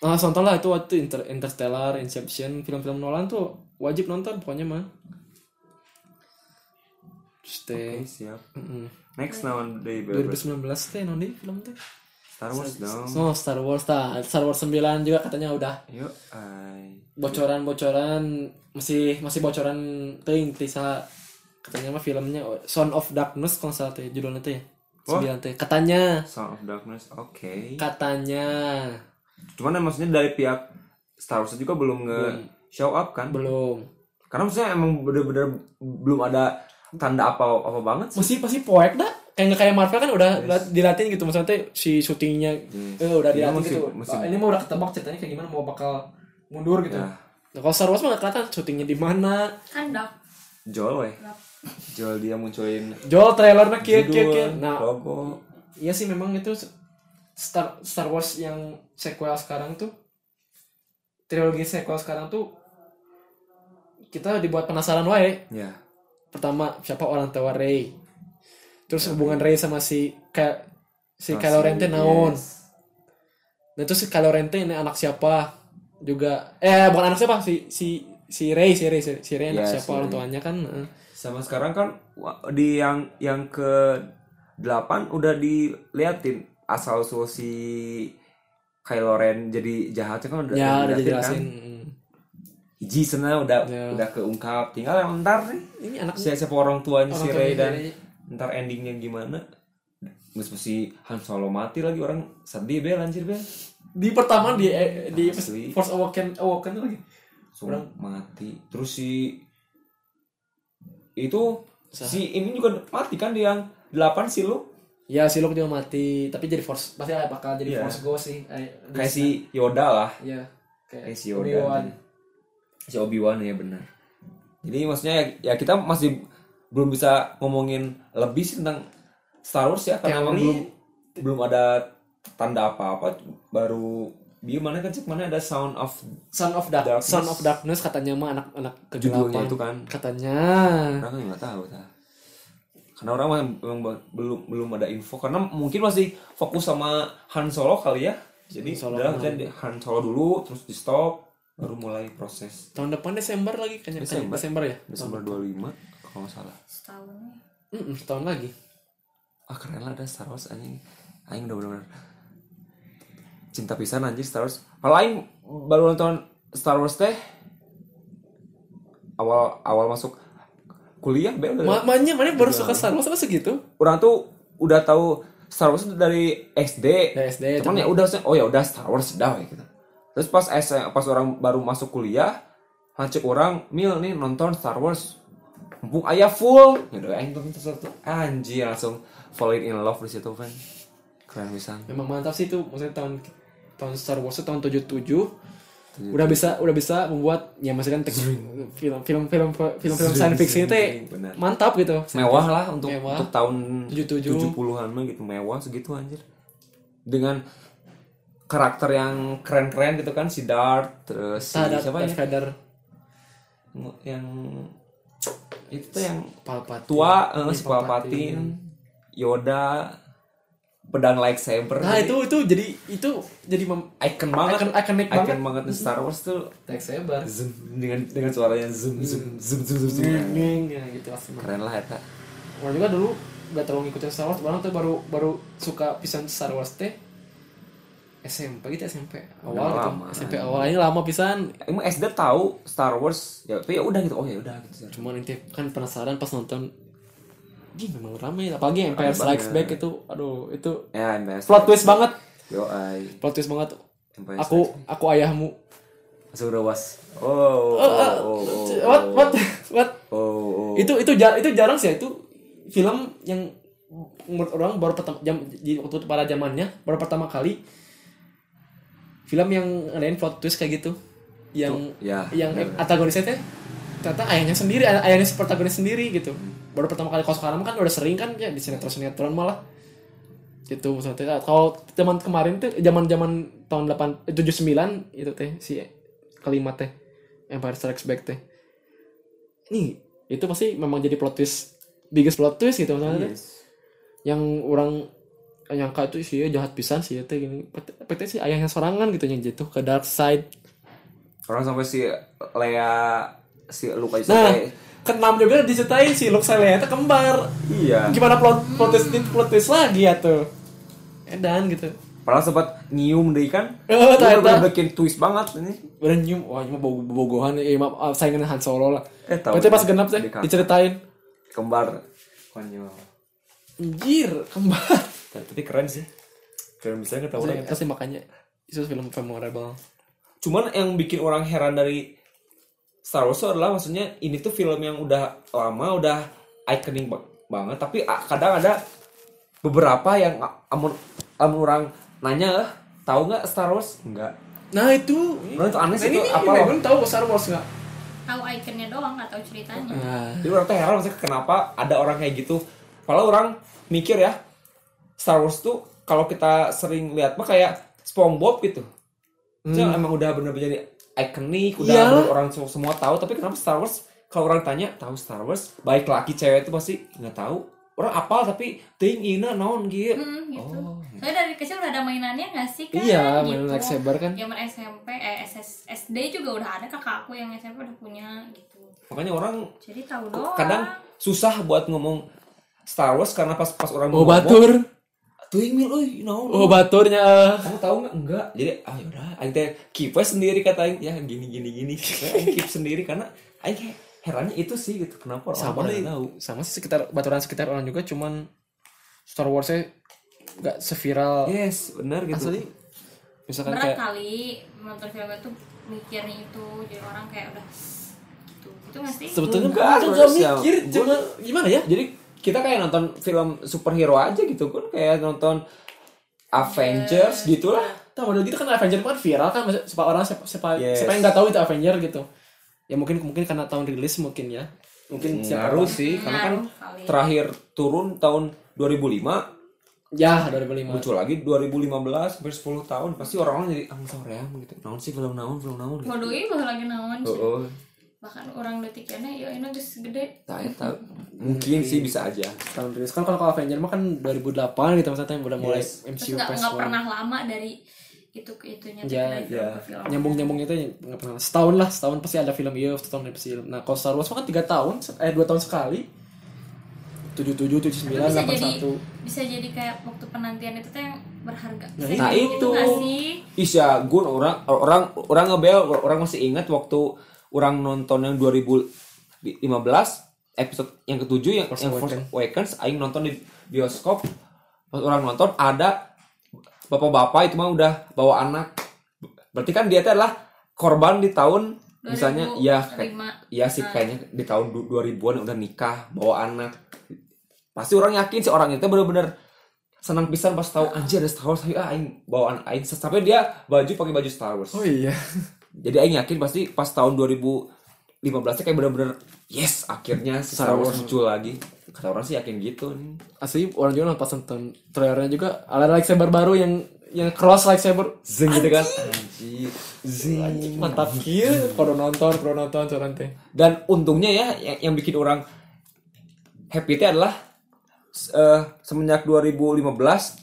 Nah, nonton lah itu waktu Inter- Interstellar, Inception, film-film Nolan tuh wajib nonton pokoknya mah. Stay. siap. Mm-mm. Next naon deui bebas. 2019 teh non di film teh. Star Wars dong. Oh, Star Wars tah. Star Wars 9 juga katanya udah Yuk, ay. bocoran-bocoran masih masih bocoran teuing tisa katanya mah filmnya oh, Son of Darkness kalau nggak salah teh judulnya teh ya. Wah. 9 teh. Katanya Sound of Darkness. Oke. katanya Cuman maksudnya dari pihak Star Wars juga belum nge show up kan? belum. Karena maksudnya emang bener-bener belum ada tanda apa apa banget sih. Mesti pasti poek dah. Kayak nggak kayak Marvel kan udah la- dilatih gitu maksudnya teh si syutingnya Yes. eh, udah Iya, dilatih musim- gitu. musim. Ini mau udah ketebak ceritanya kayak gimana mau bakal mundur gitu. Ya, Nah, kalau Star Wars mah nggak kelihatan syutingnya di mana. Kan dok. Joel weh. Joel dia munculin Jol trailernya kia kia kia. judul, Oh. Nah, logo. iya sih memang itu Star Star Wars yang sequel sekarang tuh trilogi sequel sekarang tuh kita dibuat penasaran wae. Ya. pertama siapa orang tua Ray Iya. terus hubungan Ray sama si Ka, Nah, si Kylo Ren teh naon dan terus si Kylo Ren teh ini anak siapa juga eh bukan anak siapa si si si Ray si Ray si, si Rey anak Ya, siapa si orang Rey. tuanya kan eh. Sama sekarang kan wa- di yang yang ke 8 udah diliatin asal usul si Kylo Ren jadi jahatnya kan udah ya udah diliatin dijelasin kan. Mm. Hiji sebenarnya udah Ya. udah keungkap. Tinggal yang ntar nih ini anak siapa siapa orang tuanya si orang Rey tuanya dan Rey. ntar endingnya gimana? Mesti Han Solo mati lagi orang sedih bel anjir bel. di pertama di eh, di Asli. Force Awakens Awakens lagi Orang mati. Terus si itu si ini juga mati kan di yang 8 si lu ya si Luke juga mati tapi jadi Force pasti bakal jadi Iya. Force Ghost sih eh, di kayak sana. si Yoda lah ya kayak, kayak si Yoda Obi-Wan. si Obi Wan ya benar jadi maksudnya ya, ya kita masih belum bisa ngomongin lebih sih tentang Star Wars ya karena emang Teori. belum belum ada tanda apa-apa baru di mana kan cek mana ada Sound of Son of Dark, Darkness. Son of Darkness katanya mah anak-anak judulnya kegelapan itu kan katanya. orang kan nggak tahu tah. karena orang mah- memang ba- belum belum ada info karena mungkin masih fokus sama Han Solo kali ya jadi Han Solo udah kan. kan di- Han Solo dulu terus di stop baru mulai proses Tahun depan Desember lagi kayaknya. Desember, Desember. Desember ya? Desember 25 kalau nggak salah Setahun. Mm-mm, setahun lagi. ah keren lah ada Star Wars anjing anjing udah bener-bener cinta pisan anjing Star Wars kalau aing baru nonton Star Wars teh awal awal masuk kuliah bel Ma- Makanya mana baru suka Star Wars apa segitu? orang tuh udah tahu Star Wars itu dari SD. Dari SD, Cuman Eh, cuman- ya udah oh ya udah Star Wars dah ya gitu. Terus pas S pas orang baru masuk kuliah, hancur orang mil nih nonton Star Wars. Mumpung ayah full, gitu. Aing nonton satu anjir langsung falling in love di situ kan. Keren pisan. Memang mantap sih itu. Maksudnya tahun tahun Star Wars itu tahun 77 udah bisa udah bisa membuat ya maksudnya kan tek- film film film film film science fiction itu ya Zing, benar. mantap gitu mewah lah untuk Mewah. untuk tahun 77. 70-an mah gitu mewah segitu anjir dengan karakter yang keren-keren gitu kan si Darth terus si Sadar siapa Darth ya Vader yang itu tuh yang Palpatine tua eh, Iya, si Palpatine Yoda pedang lightsaber nah itu itu jadi itu jadi mem icon banget Icon- iconic Icon banget. Mm-hmm. banget di Star Wars tuh lightsaber zoom, dengan dengan suaranya zoom Mm. zoom zoom zoom zoom, zoom. gitu langsung keren lah eta orang juga dulu gak terlalu ngikutin Star Wars orang tuh baru baru suka pisan Star Wars teh SMP gitu SMP awal Udah gitu lama. SMP awal ini lama pisan emang SD tahu Star Wars ya tapi ya udah gitu oh ya udah gitu cuman inti kan penasaran pas nonton Gih memang ramai apalagi Empire Strikes banget. Back itu aduh itu ya invest plot twist banget yo ay plot twist banget Empire aku aku ayahmu Strikes. masuk udah was oh oh oh oh what what what oh, oh. itu itu jar itu jarang sih ya, itu film yang menurut orang baru pertama jam di waktu pada zamannya baru pertama kali film yang ngadain plot twist kayak gitu yang ya, yang bener. antagonisnya teh ternyata ayahnya sendiri ay- ayahnya si protagonis sendiri gitu baru pertama kali kalau sekarang kan udah sering kan ya di sinetron sinetron malah gitu maksudnya teh. kalau zaman kemarin tuh zaman zaman tahun delapan eh, tujuh sembilan itu teh si kalimat teh Empire Strikes Back teh nih itu pasti memang jadi plot twist biggest plot twist gitu maksudnya tuh. Yes. yang orang nyangka itu sih ya jahat pisan sih itu gini Pet- pete sih ayahnya sorangan gitu yang jatuh ke dark side Orang sampai si Lea si Luka itu nah sampai- keenam juga diceritain si Luxelea itu kembar iya. gimana plot plot twist plot twist lagi ya tuh edan gitu Padahal sempat nyium deh kan. Eh, ternyata. Itu bener-bener bikin twist banget ini. Beneran nyium, wah ini mah bau- bogohan, eh, maaf, ah, saingan Han Solo lah. Eh, tahu. Berarti pas genap teh, Dikasih. diceritain. Kembar. Konyol. Anjir, kembar. Tapi keren sih. Keren bisa nggak tahu orang. Ternyata sih makanya, itu film memorable. Cuman yang bikin orang heran dari Star Wars itu adalah maksudnya ini tuh film yang udah lama, udah ikonik ba- banget. Tapi a- kadang ada beberapa yang a- amun, amun orang nanya, "Eh, tahu nggak Star Wars? Enggak. Nah itu, Nah, itu aneh sih, ini, ini, itu apa? ini, Gun tahu Star Wars nggak? tahu ikonnya doang atau ceritanya Nah, Jadi orang tuh heran maksudnya kenapa ada orang kayak gitu. Padahal orang mikir ya Star Wars tuh kalau kita sering lihat mah kayak SpongeBob gitu. Itu emang udah bener-bener jadi ikonik, Hmm. udah Iyalah. bener orang semua, semua tahu. Tapi kenapa Star Wars kalau orang tanya tahu Star Wars, baik laki cewek itu pasti nggak tahu. Orang apal tapi ting ina naon gitu. Hmm, gitu. Soalnya dari kecil udah ada mainannya gak sih kan? Oh. Iya, gitu. mainan lightsaber kan. Zaman SMP, eh SS, SD juga udah ada kakak aku yang SMP udah punya gitu. Makanya orang Jadi tahu doang. kadang susah buat ngomong Star Wars karena pas pas orang Oh batur, tuing mil euy naon. oh baturnya. eh. kamu tahu nggak enggak jadi ah yaudah aing teh keep aja sendiri kata aing ya gini gini gini Akhirnya aing keep sendiri karena aing he- herannya itu sih gitu kenapa orang Sama orang nih, nggak tahu sama sih sekitar baturan sekitar orang juga, cuman Star Warsnya nggak seviral. yes benar gitu Asli, misalkan Berat kayak kali menonton film itu mikirnya itu. Jadi orang kayak udah gitu. Gitu gak sih? sebetulnya Enggak, Aku nggak harus ya. mikir, Gua- cuma gimana ya? jadi kita kayak nonton film superhero aja gitu kan kayak nonton Avengers gitu lah Tahu udah gitu kan Avenger itu kan viral kan maksud- siapa orang siapa siapa, Yes. siapa yang nggak tahu itu Avenger gitu. Ya mungkin mungkin karena tahun rilis mungkin ya. Mungkin siapa ngaruh tahu. sih karena kan Ngaruh kali. terakhir turun tahun 2005 Ya 2005. muncul lagi 2015 hampir 10 tahun pasti orang-orang jadi ah soreang gitu naon sih film naon film naon gitu Bodohi baru lagi naon sih. oh, oh. Bahkan orang detiknya ya ini geus gede. Tak, tak. mungkin sih bisa aja Tahun rilis kan kalau kalau Avenger mah kan 2008 gitu maksudnya udah mulai MCU Terus gak, PS1. nggak pernah lama dari itu ke itunya. Ya, dari film ya. ke film. Nyambung-nyambungnya itu nggak pernah. Setahun lah, setahun pasti ada film iya, setahun ada film. Nah, kalau Star Wars mah kan 3 tahun, se- eh 2 tahun sekali. 77, 79, Tapi bisa jadi 81. bisa jadi kayak waktu penantian itu tuh yang berharga. Nah, Bisa nah jadi itu. gitu nggak sih? Isya Gun orang orang orang ngebel orang masih ingat waktu orang nonton yang 2015 episode yang ketujuh yang Force yang Force Awakens. Awakens aing nonton di bioskop pas orang nonton ada bapak-bapak itu mah udah bawa anak berarti kan dia teh adalah korban di tahun misalnya ya kayak- 2005. Iya sih kayaknya di tahun du- 2000-an udah nikah, bawa anak. Pasti orang yakin sih orang itu bener-bener senang pisan pas tahu anjir ada Star Wars ayo ah, aing bawa anak aing sampai dia baju pakai baju Star Wars. Oh iya. Jadi aing yakin pasti pas tahun 2015 -nya kayak bener-bener yes akhirnya si Star Wars muncul lagi. Kata orang sih yakin gitu nih. asli orang juga pas nonton trailernya juga ada lightsaber baru yang yang cross lightsaber zing gitu kan Anjir. Anjing, mantap kieu kalau nonton kalau nonton coran teh Dan untungnya ya yang, yang bikin orang happy itu adalah eh, semenjak 2015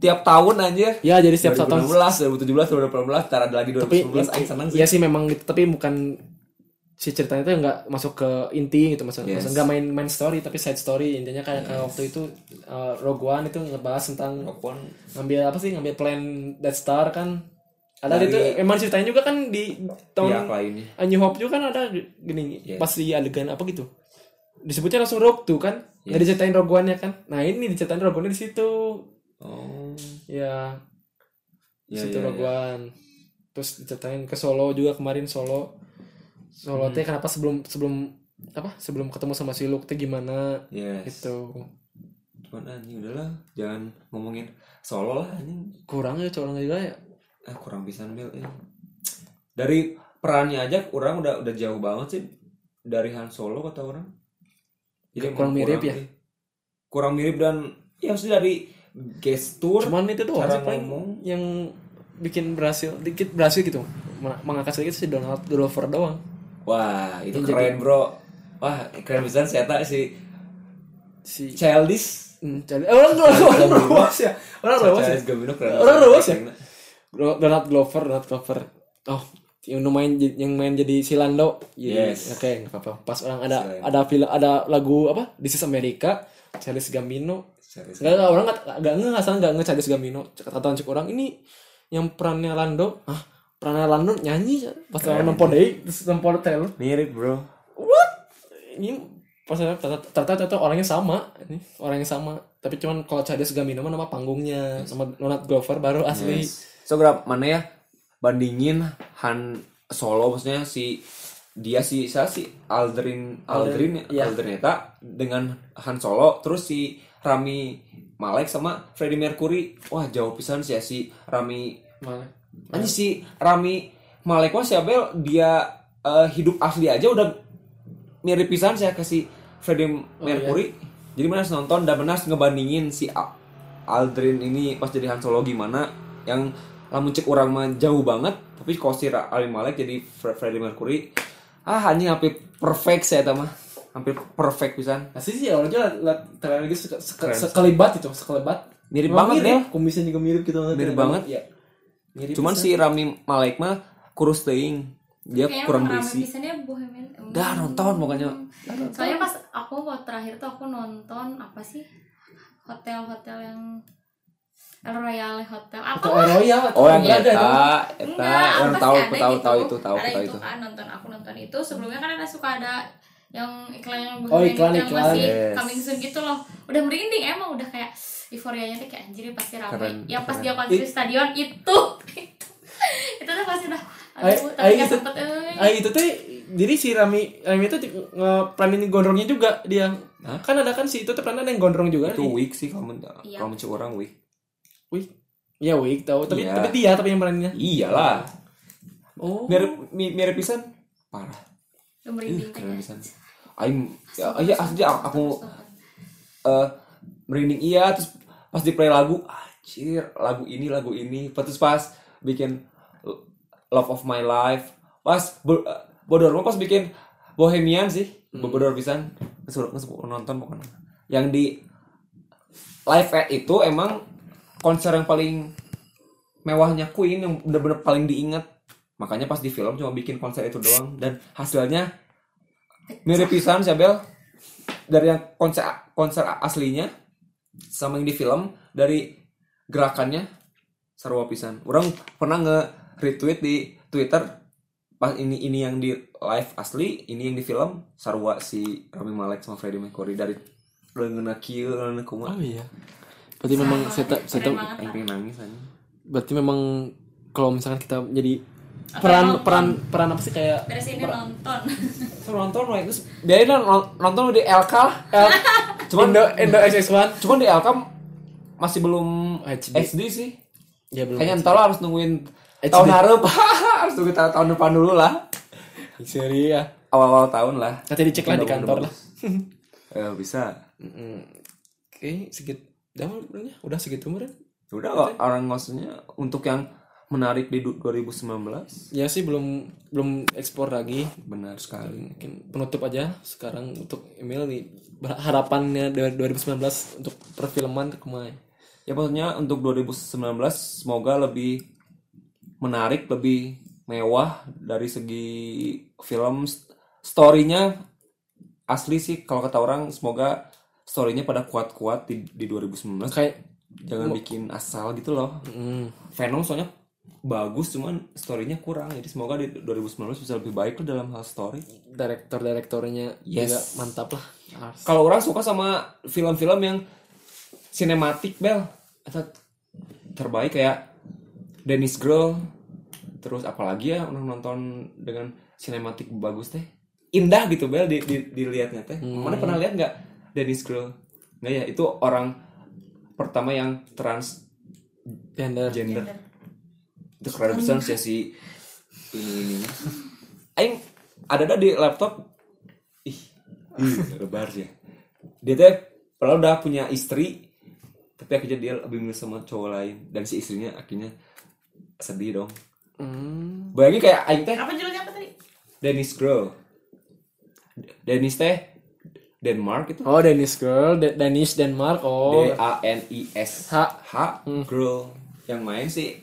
tiap tahun anjir. ya jadi setiap satu 2016, 2017, 2018, ntar ada lagi tapi 2019, aing seneng sih. ya sih memang gitu tapi bukan si ceritanya tuh nggak masuk ke inti gitu maksudnya Yes. maksudnya nggak main main story tapi side story intinya kayak kayak waktu itu eh, Rogue One itu ngebahas tentang Walaupun ngambil apa sih ngambil plan Death Star kan ada Dari- itu emang ceritanya juga kan di pihak tahun lainnya. A New Hope juga kan ada gini Yes. pas di adegan apa gitu disebutnya langsung Rogue tuh kan nggak diceritain Rogue One-nya kan nah ini diceritain Rogue One di situ Oh. ya di Ya, situ ya, Rogue One terus diceritain ke Solo juga kemarin Solo Solo teh Hmm. kenapa sebelum sebelum apa sebelum ketemu sama si Luke teh gimana iya. Yes. gitu Cuman anjing udahlah, jangan ngomongin solo lah anjing. kurang ya corong juga ya Ah kurang pisan Bill. eh. Dari perannya aja orang udah udah jauh banget sih dari Han Solo kata orang. emang Kurang mirip ya? sih. Kurang mirip dan ya maksudnya dari gestur cuman itu doang Cara sih paling ngomong. yang bikin berhasil dikit berhasil gitu mengangkat sedikit si Donald Glover doang Wah, itu Yang jadi- keren, Bro. Wah, keren pisan si eta si si Childish. Hmm, jadi eh, orang orang orang ruas ya orang ruas ya Childish Gambino keren. Orang pisan. ruas ya? Glo- Donald Glover Donald Glover oh yang main yang main jadi Silando Yes. oke nggak apa-apa pas orang ada Silando. ada film ada lagu apa This is America Charles Gambino Childish nggak nggak, orang nggak nggak nggak nggak salah nggak nggak Charles Gambino kata cek orang ini yang perannya Lando ah perannya Lando nyanyi pas orang nonton deh terus nonton trailer Mirip bro. what ini pas saya- ternyata ternyata ternyata orangnya sama ini orangnya sama tapi cuman kalau Charles Gambino mah nama panggungnya sama Donald Glover baru asli So grab mana ya bandingin Han Solo maksudnya si dia si saya si Aldrin Aldrin iya. Aldrin eta dengan Han Solo terus si Rami Malek sama Freddie Mercury wah jauh pisan sih ya si Rami Malah. Anjir si Rami Malek wah si Abel dia eh, hidup asli aja udah mirip pisan saya ke si Freddie Mercury. Jadi mana nonton dan benar ngebandingin si Al- Aldrin ini pas jadi Han Solo gimana yang lamun cek orang mah jauh banget tapi kalau si Ra- Rami Malek jadi Fre- Freddie Mercury ah hanya hampir perfect saya eta mah hampir perfect pisan asli sih orangnya liat trailer lagi seke- seke- sekelebat itu sekelebat mirip Emang banget deh kumisnya juga ya. mirip Iya, gitu Mirip banget. Iya. mirip cuman si Rami Malek mah kurus teuing dia Kayaknya kurang rame berisi pisannya Bohemian Rhapsody. Dah, nonton pokoknya. Soalnya pas aku waktu terakhir tuh aku nonton apa sih hotel-hotel yang El Royale Hotel apa atau Royal Oh yang Nggak ada, eta, ada. eta, Iya, Enggak, orang pasti tahu, ada aku tahu, gitu. tahu itu, tahu, ada aku tahu itu itu. kan nonton aku nonton itu sebelumnya kan ada suka ada yang iklan yang Oh, iklan, yang iklan. masih Yes. coming soon gitu loh udah merinding emang udah kayak euforianya tuh kayak anjir ini pasti ramai Keren, yang pas keren. dia konser di stadion itu itu itu tuh pasti udah aduh Ay- tapi ay, nggak itu- sempet eh. Ah itu tuh jadi si Rami Rami itu peranin gondrongnya juga dia kan ada kan si itu tuh peranin ada yang gondrong juga Itu weak sih kalau men- Iya. kalau mencuri orang weak. Wih, ya Wig tahu. Tapi, Iya. tapi dia tapi yang peraninnya. Iyalah, Oh. mirip mi- mirip pisan. Parah, Udah merinding keren kayak. pisan. Aing ya, iya asli aku, aku eh, merinding iya terus pas di play lagu anjir lagu ini lagu ini terus pas bikin L- Love of My Life pas bo- eh, bodor mah pas bikin Bohemian sih Hmm. bodor pisan ngesuruh ngesuruh nonton pokoknya yang di live at itu emang konser yang paling mewahnya Queen yang bener-bener paling diingat makanya pas di film cuma bikin konser itu doang dan hasilnya mirip pisan sih Abel dari yang konser konser aslinya sama yang di film dari gerakannya sarwa pisan orang pernah nge retweet di Twitter pas ini ini yang di live asli ini yang di film sarwa si Rami Malek sama Freddie Mercury dari Lengena kieu leungeuna kumaha Oh iya. Berarti memang seta seta Keren banget Aing lah. pengen nangis aja berarti memang kalau misalkan kita jadi Atau peran nonton. peran peran apa sih kayak beres ini nonton nonton lah terus biarin lah, non- nonton di LK lah cuman Indo Indo XX1 cuman di LK masih belum HD. HD, sih ya belum kayaknya entahlah harus nungguin HD. tahun harap harus nungguin ta- tahun depan dulu lah seri ya awal-awal tahun lah nanti dicek lah di kantor lah ya bisa oke segit udah umurnya udah segitu umurnya udah kok orang maksudnya untuk yang menarik di du- 2019 ya sih belum belum ekspor lagi benar sekali mungkin penutup aja sekarang untuk Emil nih Ber- harapannya dari 2019 untuk perfilman kemana ya maksudnya untuk 2019 semoga lebih menarik lebih mewah dari segi film St- story-nya asli sih kalau kata orang semoga story-nya pada kuat-kuat di, di 2019 kayak kayak jangan bikin asal gitu loh hmm, Venom soalnya bagus cuman story-nya kurang jadi semoga di 2019 bisa lebih baik tuh dalam hal story direktor-direktornya Yes. juga mantap lah. Harus. kalau orang suka sama film-film yang sinematik bel Atau terbaik kayak Dennis Girl terus apalagi ya orang nonton dengan sinematik bagus teh indah gitu bel di, di- dilihatnya teh mana pernah lihat nggak Dennis Girl nggak ya itu orang pertama yang transgender Gender. itu keren pisan sih si ini ininya aing ada ada di laptop ih ih lebar ya dia teh padahal udah punya istri tapi akhirnya dia lebih milih sama cowok lain dan si istrinya akhirnya sedih dong Hmm. bayangin kayak aing teh apa judulnya apa tadi Danish Girl. Danish teh Denmark itu. Oh, Danish girl, Da- Danish Denmark. Oh. D A N I S H. Hmm. H Girl yang main sih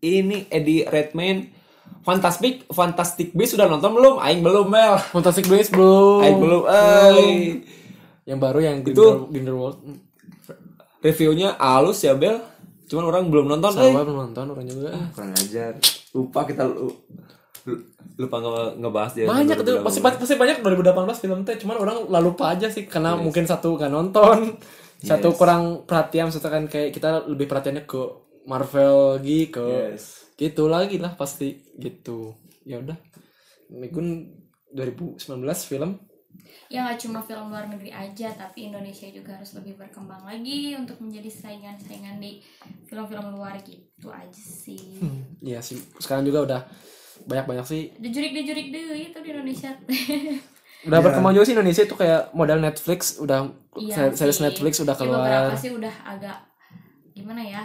ini Eddie Redmayne Fantastic Fantastic Beasts sudah nonton belum? Aing belum Mel. Fantastic Beasts belum. Aing belum. eh. Ay. Yang baru yang Itu. Grindelwald. Grindelwald. Reviewnya halus ya Bel. Cuman orang belum nonton. eh. Sama belum nonton orang juga. Kurang ajar. Lupa kita lu, lu- lupa nge- ngebahas dia. Banyak tuh, pasti pasti banyak 2018 film teh, cuman orang lalu lupa aja sih karena mungkin satu gak nonton, satu kurang perhatian, satu kan kayak kita lebih perhatiannya ke Marvel lagi ke Yes. gitu lagi lah pasti gitu. Ya udah. Migun 2019 film Ya nggak cuma film luar negeri aja, tapi Indonesia juga harus lebih berkembang lagi untuk menjadi saingan-saingan di film-film luar gitu aja sih. Iya sih, sekarang juga udah banyak-banyak sih. Dejurik-dejurik deh itu gitu di Indonesia. Udah Iya. berkembang juga sih Indonesia itu kayak modal Netflix, udah Iya se- series sih. Netflix udah Ya, beberapa keluar. sih udah agak gimana ya?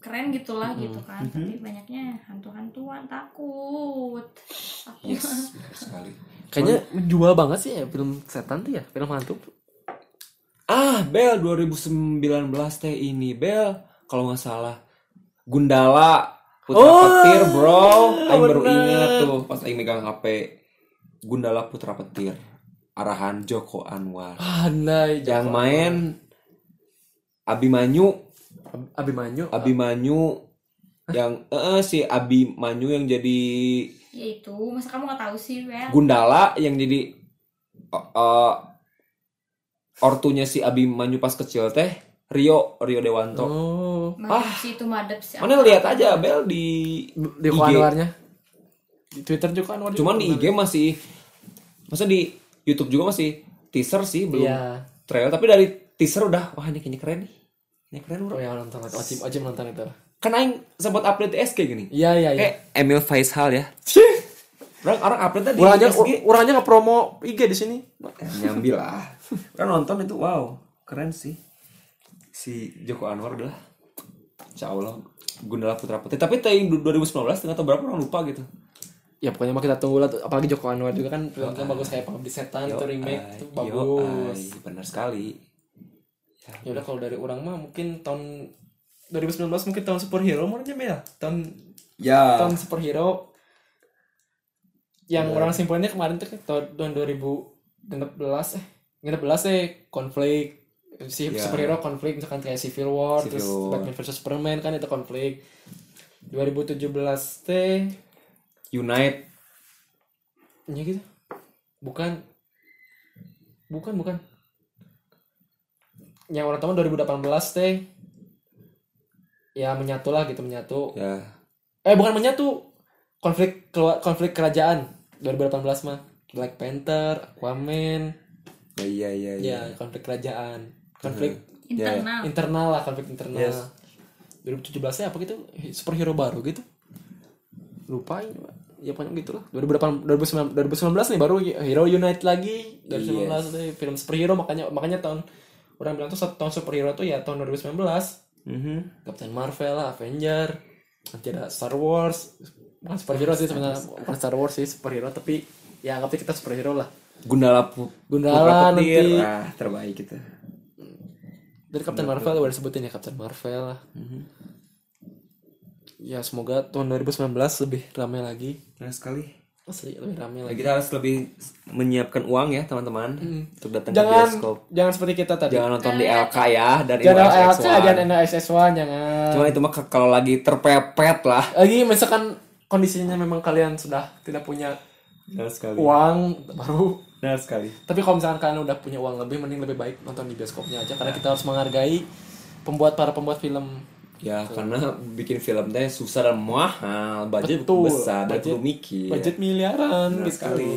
Keren gitulah Hmm. gitu kan, tapi banyaknya hantu-hantuan takut. Takut. Yes, benar sekali. Kayaknya jual banget sih ya film setan tuh ya, film hantu. Ah, Bel 2019 teh ini Bel kalau nggak salah Gundala Putra Oh, Petir, bro. Aing baru bener. ingat tuh pas aing megang HP Gundala Putra Petir arahan Joko Ah, Anwar. Pandai Yang main Abimanyu, Ab- Abimanyu. Abimanyu yang eh eh, si Abimanyu yang jadi Ya itu, masa kamu nggak tahu sih, Wel? Gundala yang jadi eh, eh, ortunya si Abimanyu pas kecil teh Rio Rio Dewanto. Oh, Madep sih itu madep sih. Mana lihat aja Bel di di IG. Anwarnya. Di Twitter juga Anwar. juga Cuman di Anwar. IG masih masa di YouTube juga masih teaser sih belum Iya. trailer tapi dari teaser udah wah ini kayaknya keren nih. Ini keren bro. Oh ya nonton, wajib wajib nonton itu. Kan aing sempat update di SG gini. Iya iya iya. Kayak Emil Faishal ya. Orang orang update di Urangnya SG. urangnya nggak promo IG di sini. Nyambi lah. Orang nonton itu wow, keren sih. Si Joko Anwar udah lah. Insya Allah Gundala Putra Putih. Tapi tahun 2019 tengah atau berapa orang lupa gitu. Ya pokoknya mah kita tunggu lah tuh. apalagi Joko Anwar juga kan filmnya bagus kayak Pengabdi Setan itu remake Ay, itu yo, bagus. ay, bener sekali. ya udah kalau dari orang mah mungkin tahun 2019 mungkin tahun superhero menurutnya Mel tahun Ya. tahun superhero Iya. yang orang simpulinnya kemarin tuh tahun tahun 2016 eh 16 eh konflik si Ya. superhero konflik misalkan kayak Civil War Civil terus War. Batman versus Superman kan itu konflik 2017 teh Unite. ya gitu bukan bukan bukan yang orang tahu 2018 teh ya menyatulah gitu menyatu Ya. eh bukan menyatu konflik keluar konflik kerajaan 2018 mah Black Panther Aquaman Ya iya iya. iya. ya konflik kerajaan konflik Internal. internal lah konflik internal Yes. 2017 nya apa gitu superhero baru gitu lupa ini, Pak. ya pokoknya gitu lah 2018 2019 2019 nih baru Hero Unite lagi 2019 nih, film superhero makanya makanya tahun orang bilang tuh satu tahun superhero tuh ya tahun 2019 Mhm. Captain Marvel lah Avenger nanti ada Star Wars bukan superhero sih sebenarnya bukan Star Wars sih superhero tapi ya anggapnya kita superhero lah Gundala Pu- Gundala Putra Petir. nanti. Ah, terbaik itu. dari Captain Marvel udah disebutin ya Captain Marvel lah Mhm. ya semoga tahun 2019 lebih ramai lagi Bener sekali. Nah, asli lebih ramai lagi Kita harus lebih menyiapkan uang ya teman-teman untuk datang Mhm. ke jangan bioskop. jangan seperti kita tadi Jangan nonton di LK ya dan jangan LC NYSX1. jangan NSS1 jangan Cuma itu mah ke- kalau lagi terpepet lah. lagi misalkan kondisinya memang kalian sudah tidak punya Nah, Benar sekali. uang baru Benar Nah, sekali. tapi kalau misalkan kalian udah punya uang lebih mending lebih baik nonton di bioskopnya aja karena kita harus menghargai pembuat para pembuat film Ya karena bikin film teh susah dan mahal, budget Betul. besar dan Budget- perlu mikir. budget miliaran Iya. Benar gitu sekali.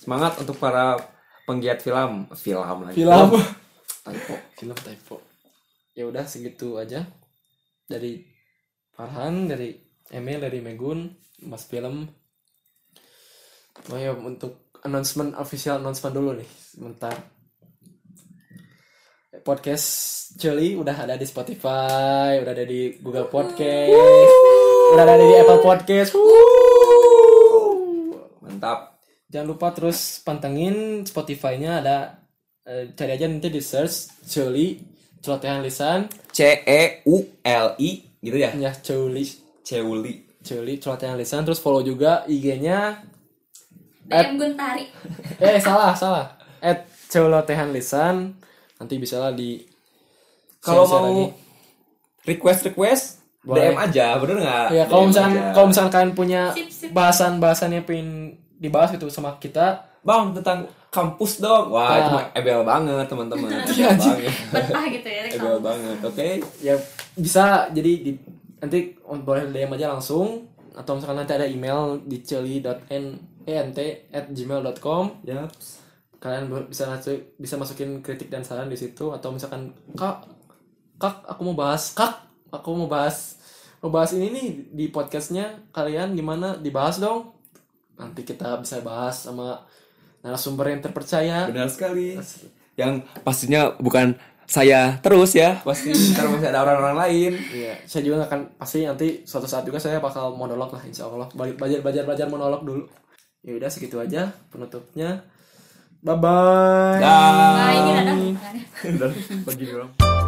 Semangat untuk para penggiat film, film lagi. film Typo. film typo ya udah segitu aja dari Farhan dari Emil dari Megun Mas film oh ya untuk announcement official announcement dulu nih sebentar podcast Celi udah ada di Spotify udah ada di Google Podcast udah ada di Apple Podcast Wuh. mantap Jangan lupa terus pantengin Spotify-nya ada eh, cari aja nanti di search Celi celotehan lisan C E U L I gitu ya ya Celi Ceuli Celi celotehan lisan terus follow juga IG-nya ya. DM Guntari eh salah salah at celotehan lisan nanti bisa lah di kalau share-share mau lagi. request request Boleh. DM aja bener nggak ya kalau DM misalkan aja. kalau misalkan kalian punya Sip, sip. bahasan-bahasan yang pengen dibahas itu sama kita bang tentang kampus dong wah Ah. itu Iya, mah ebel banget teman-teman Ebel banget Betah gitu ya ebel rekam. banget oke ya bisa jadi di- nanti boleh DM aja langsung atau misalkan nanti ada email di e celi.nent@gmail.com Yaps. kalian bo- bisa masuk- bisa masukin kritik dan saran di situ atau misalkan kak kak aku mau bahas kak aku mau bahas mau bahas ini nih di podcastnya kalian gimana dibahas dong nanti kita bisa bahas sama narasumber yang terpercaya Benar sekali. Yang pastinya bukan saya terus ya, pasti karena masih ada orang-orang lain. Iya, saya juga akan pasti nanti suatu saat juga saya bakal monolog lah insya Allah. Balik- Belajar belajar belajar monolog dulu. Ya udah segitu aja penutupnya. Bye bye. Dah. Nah ini ada tangannya Udah, pergi dong.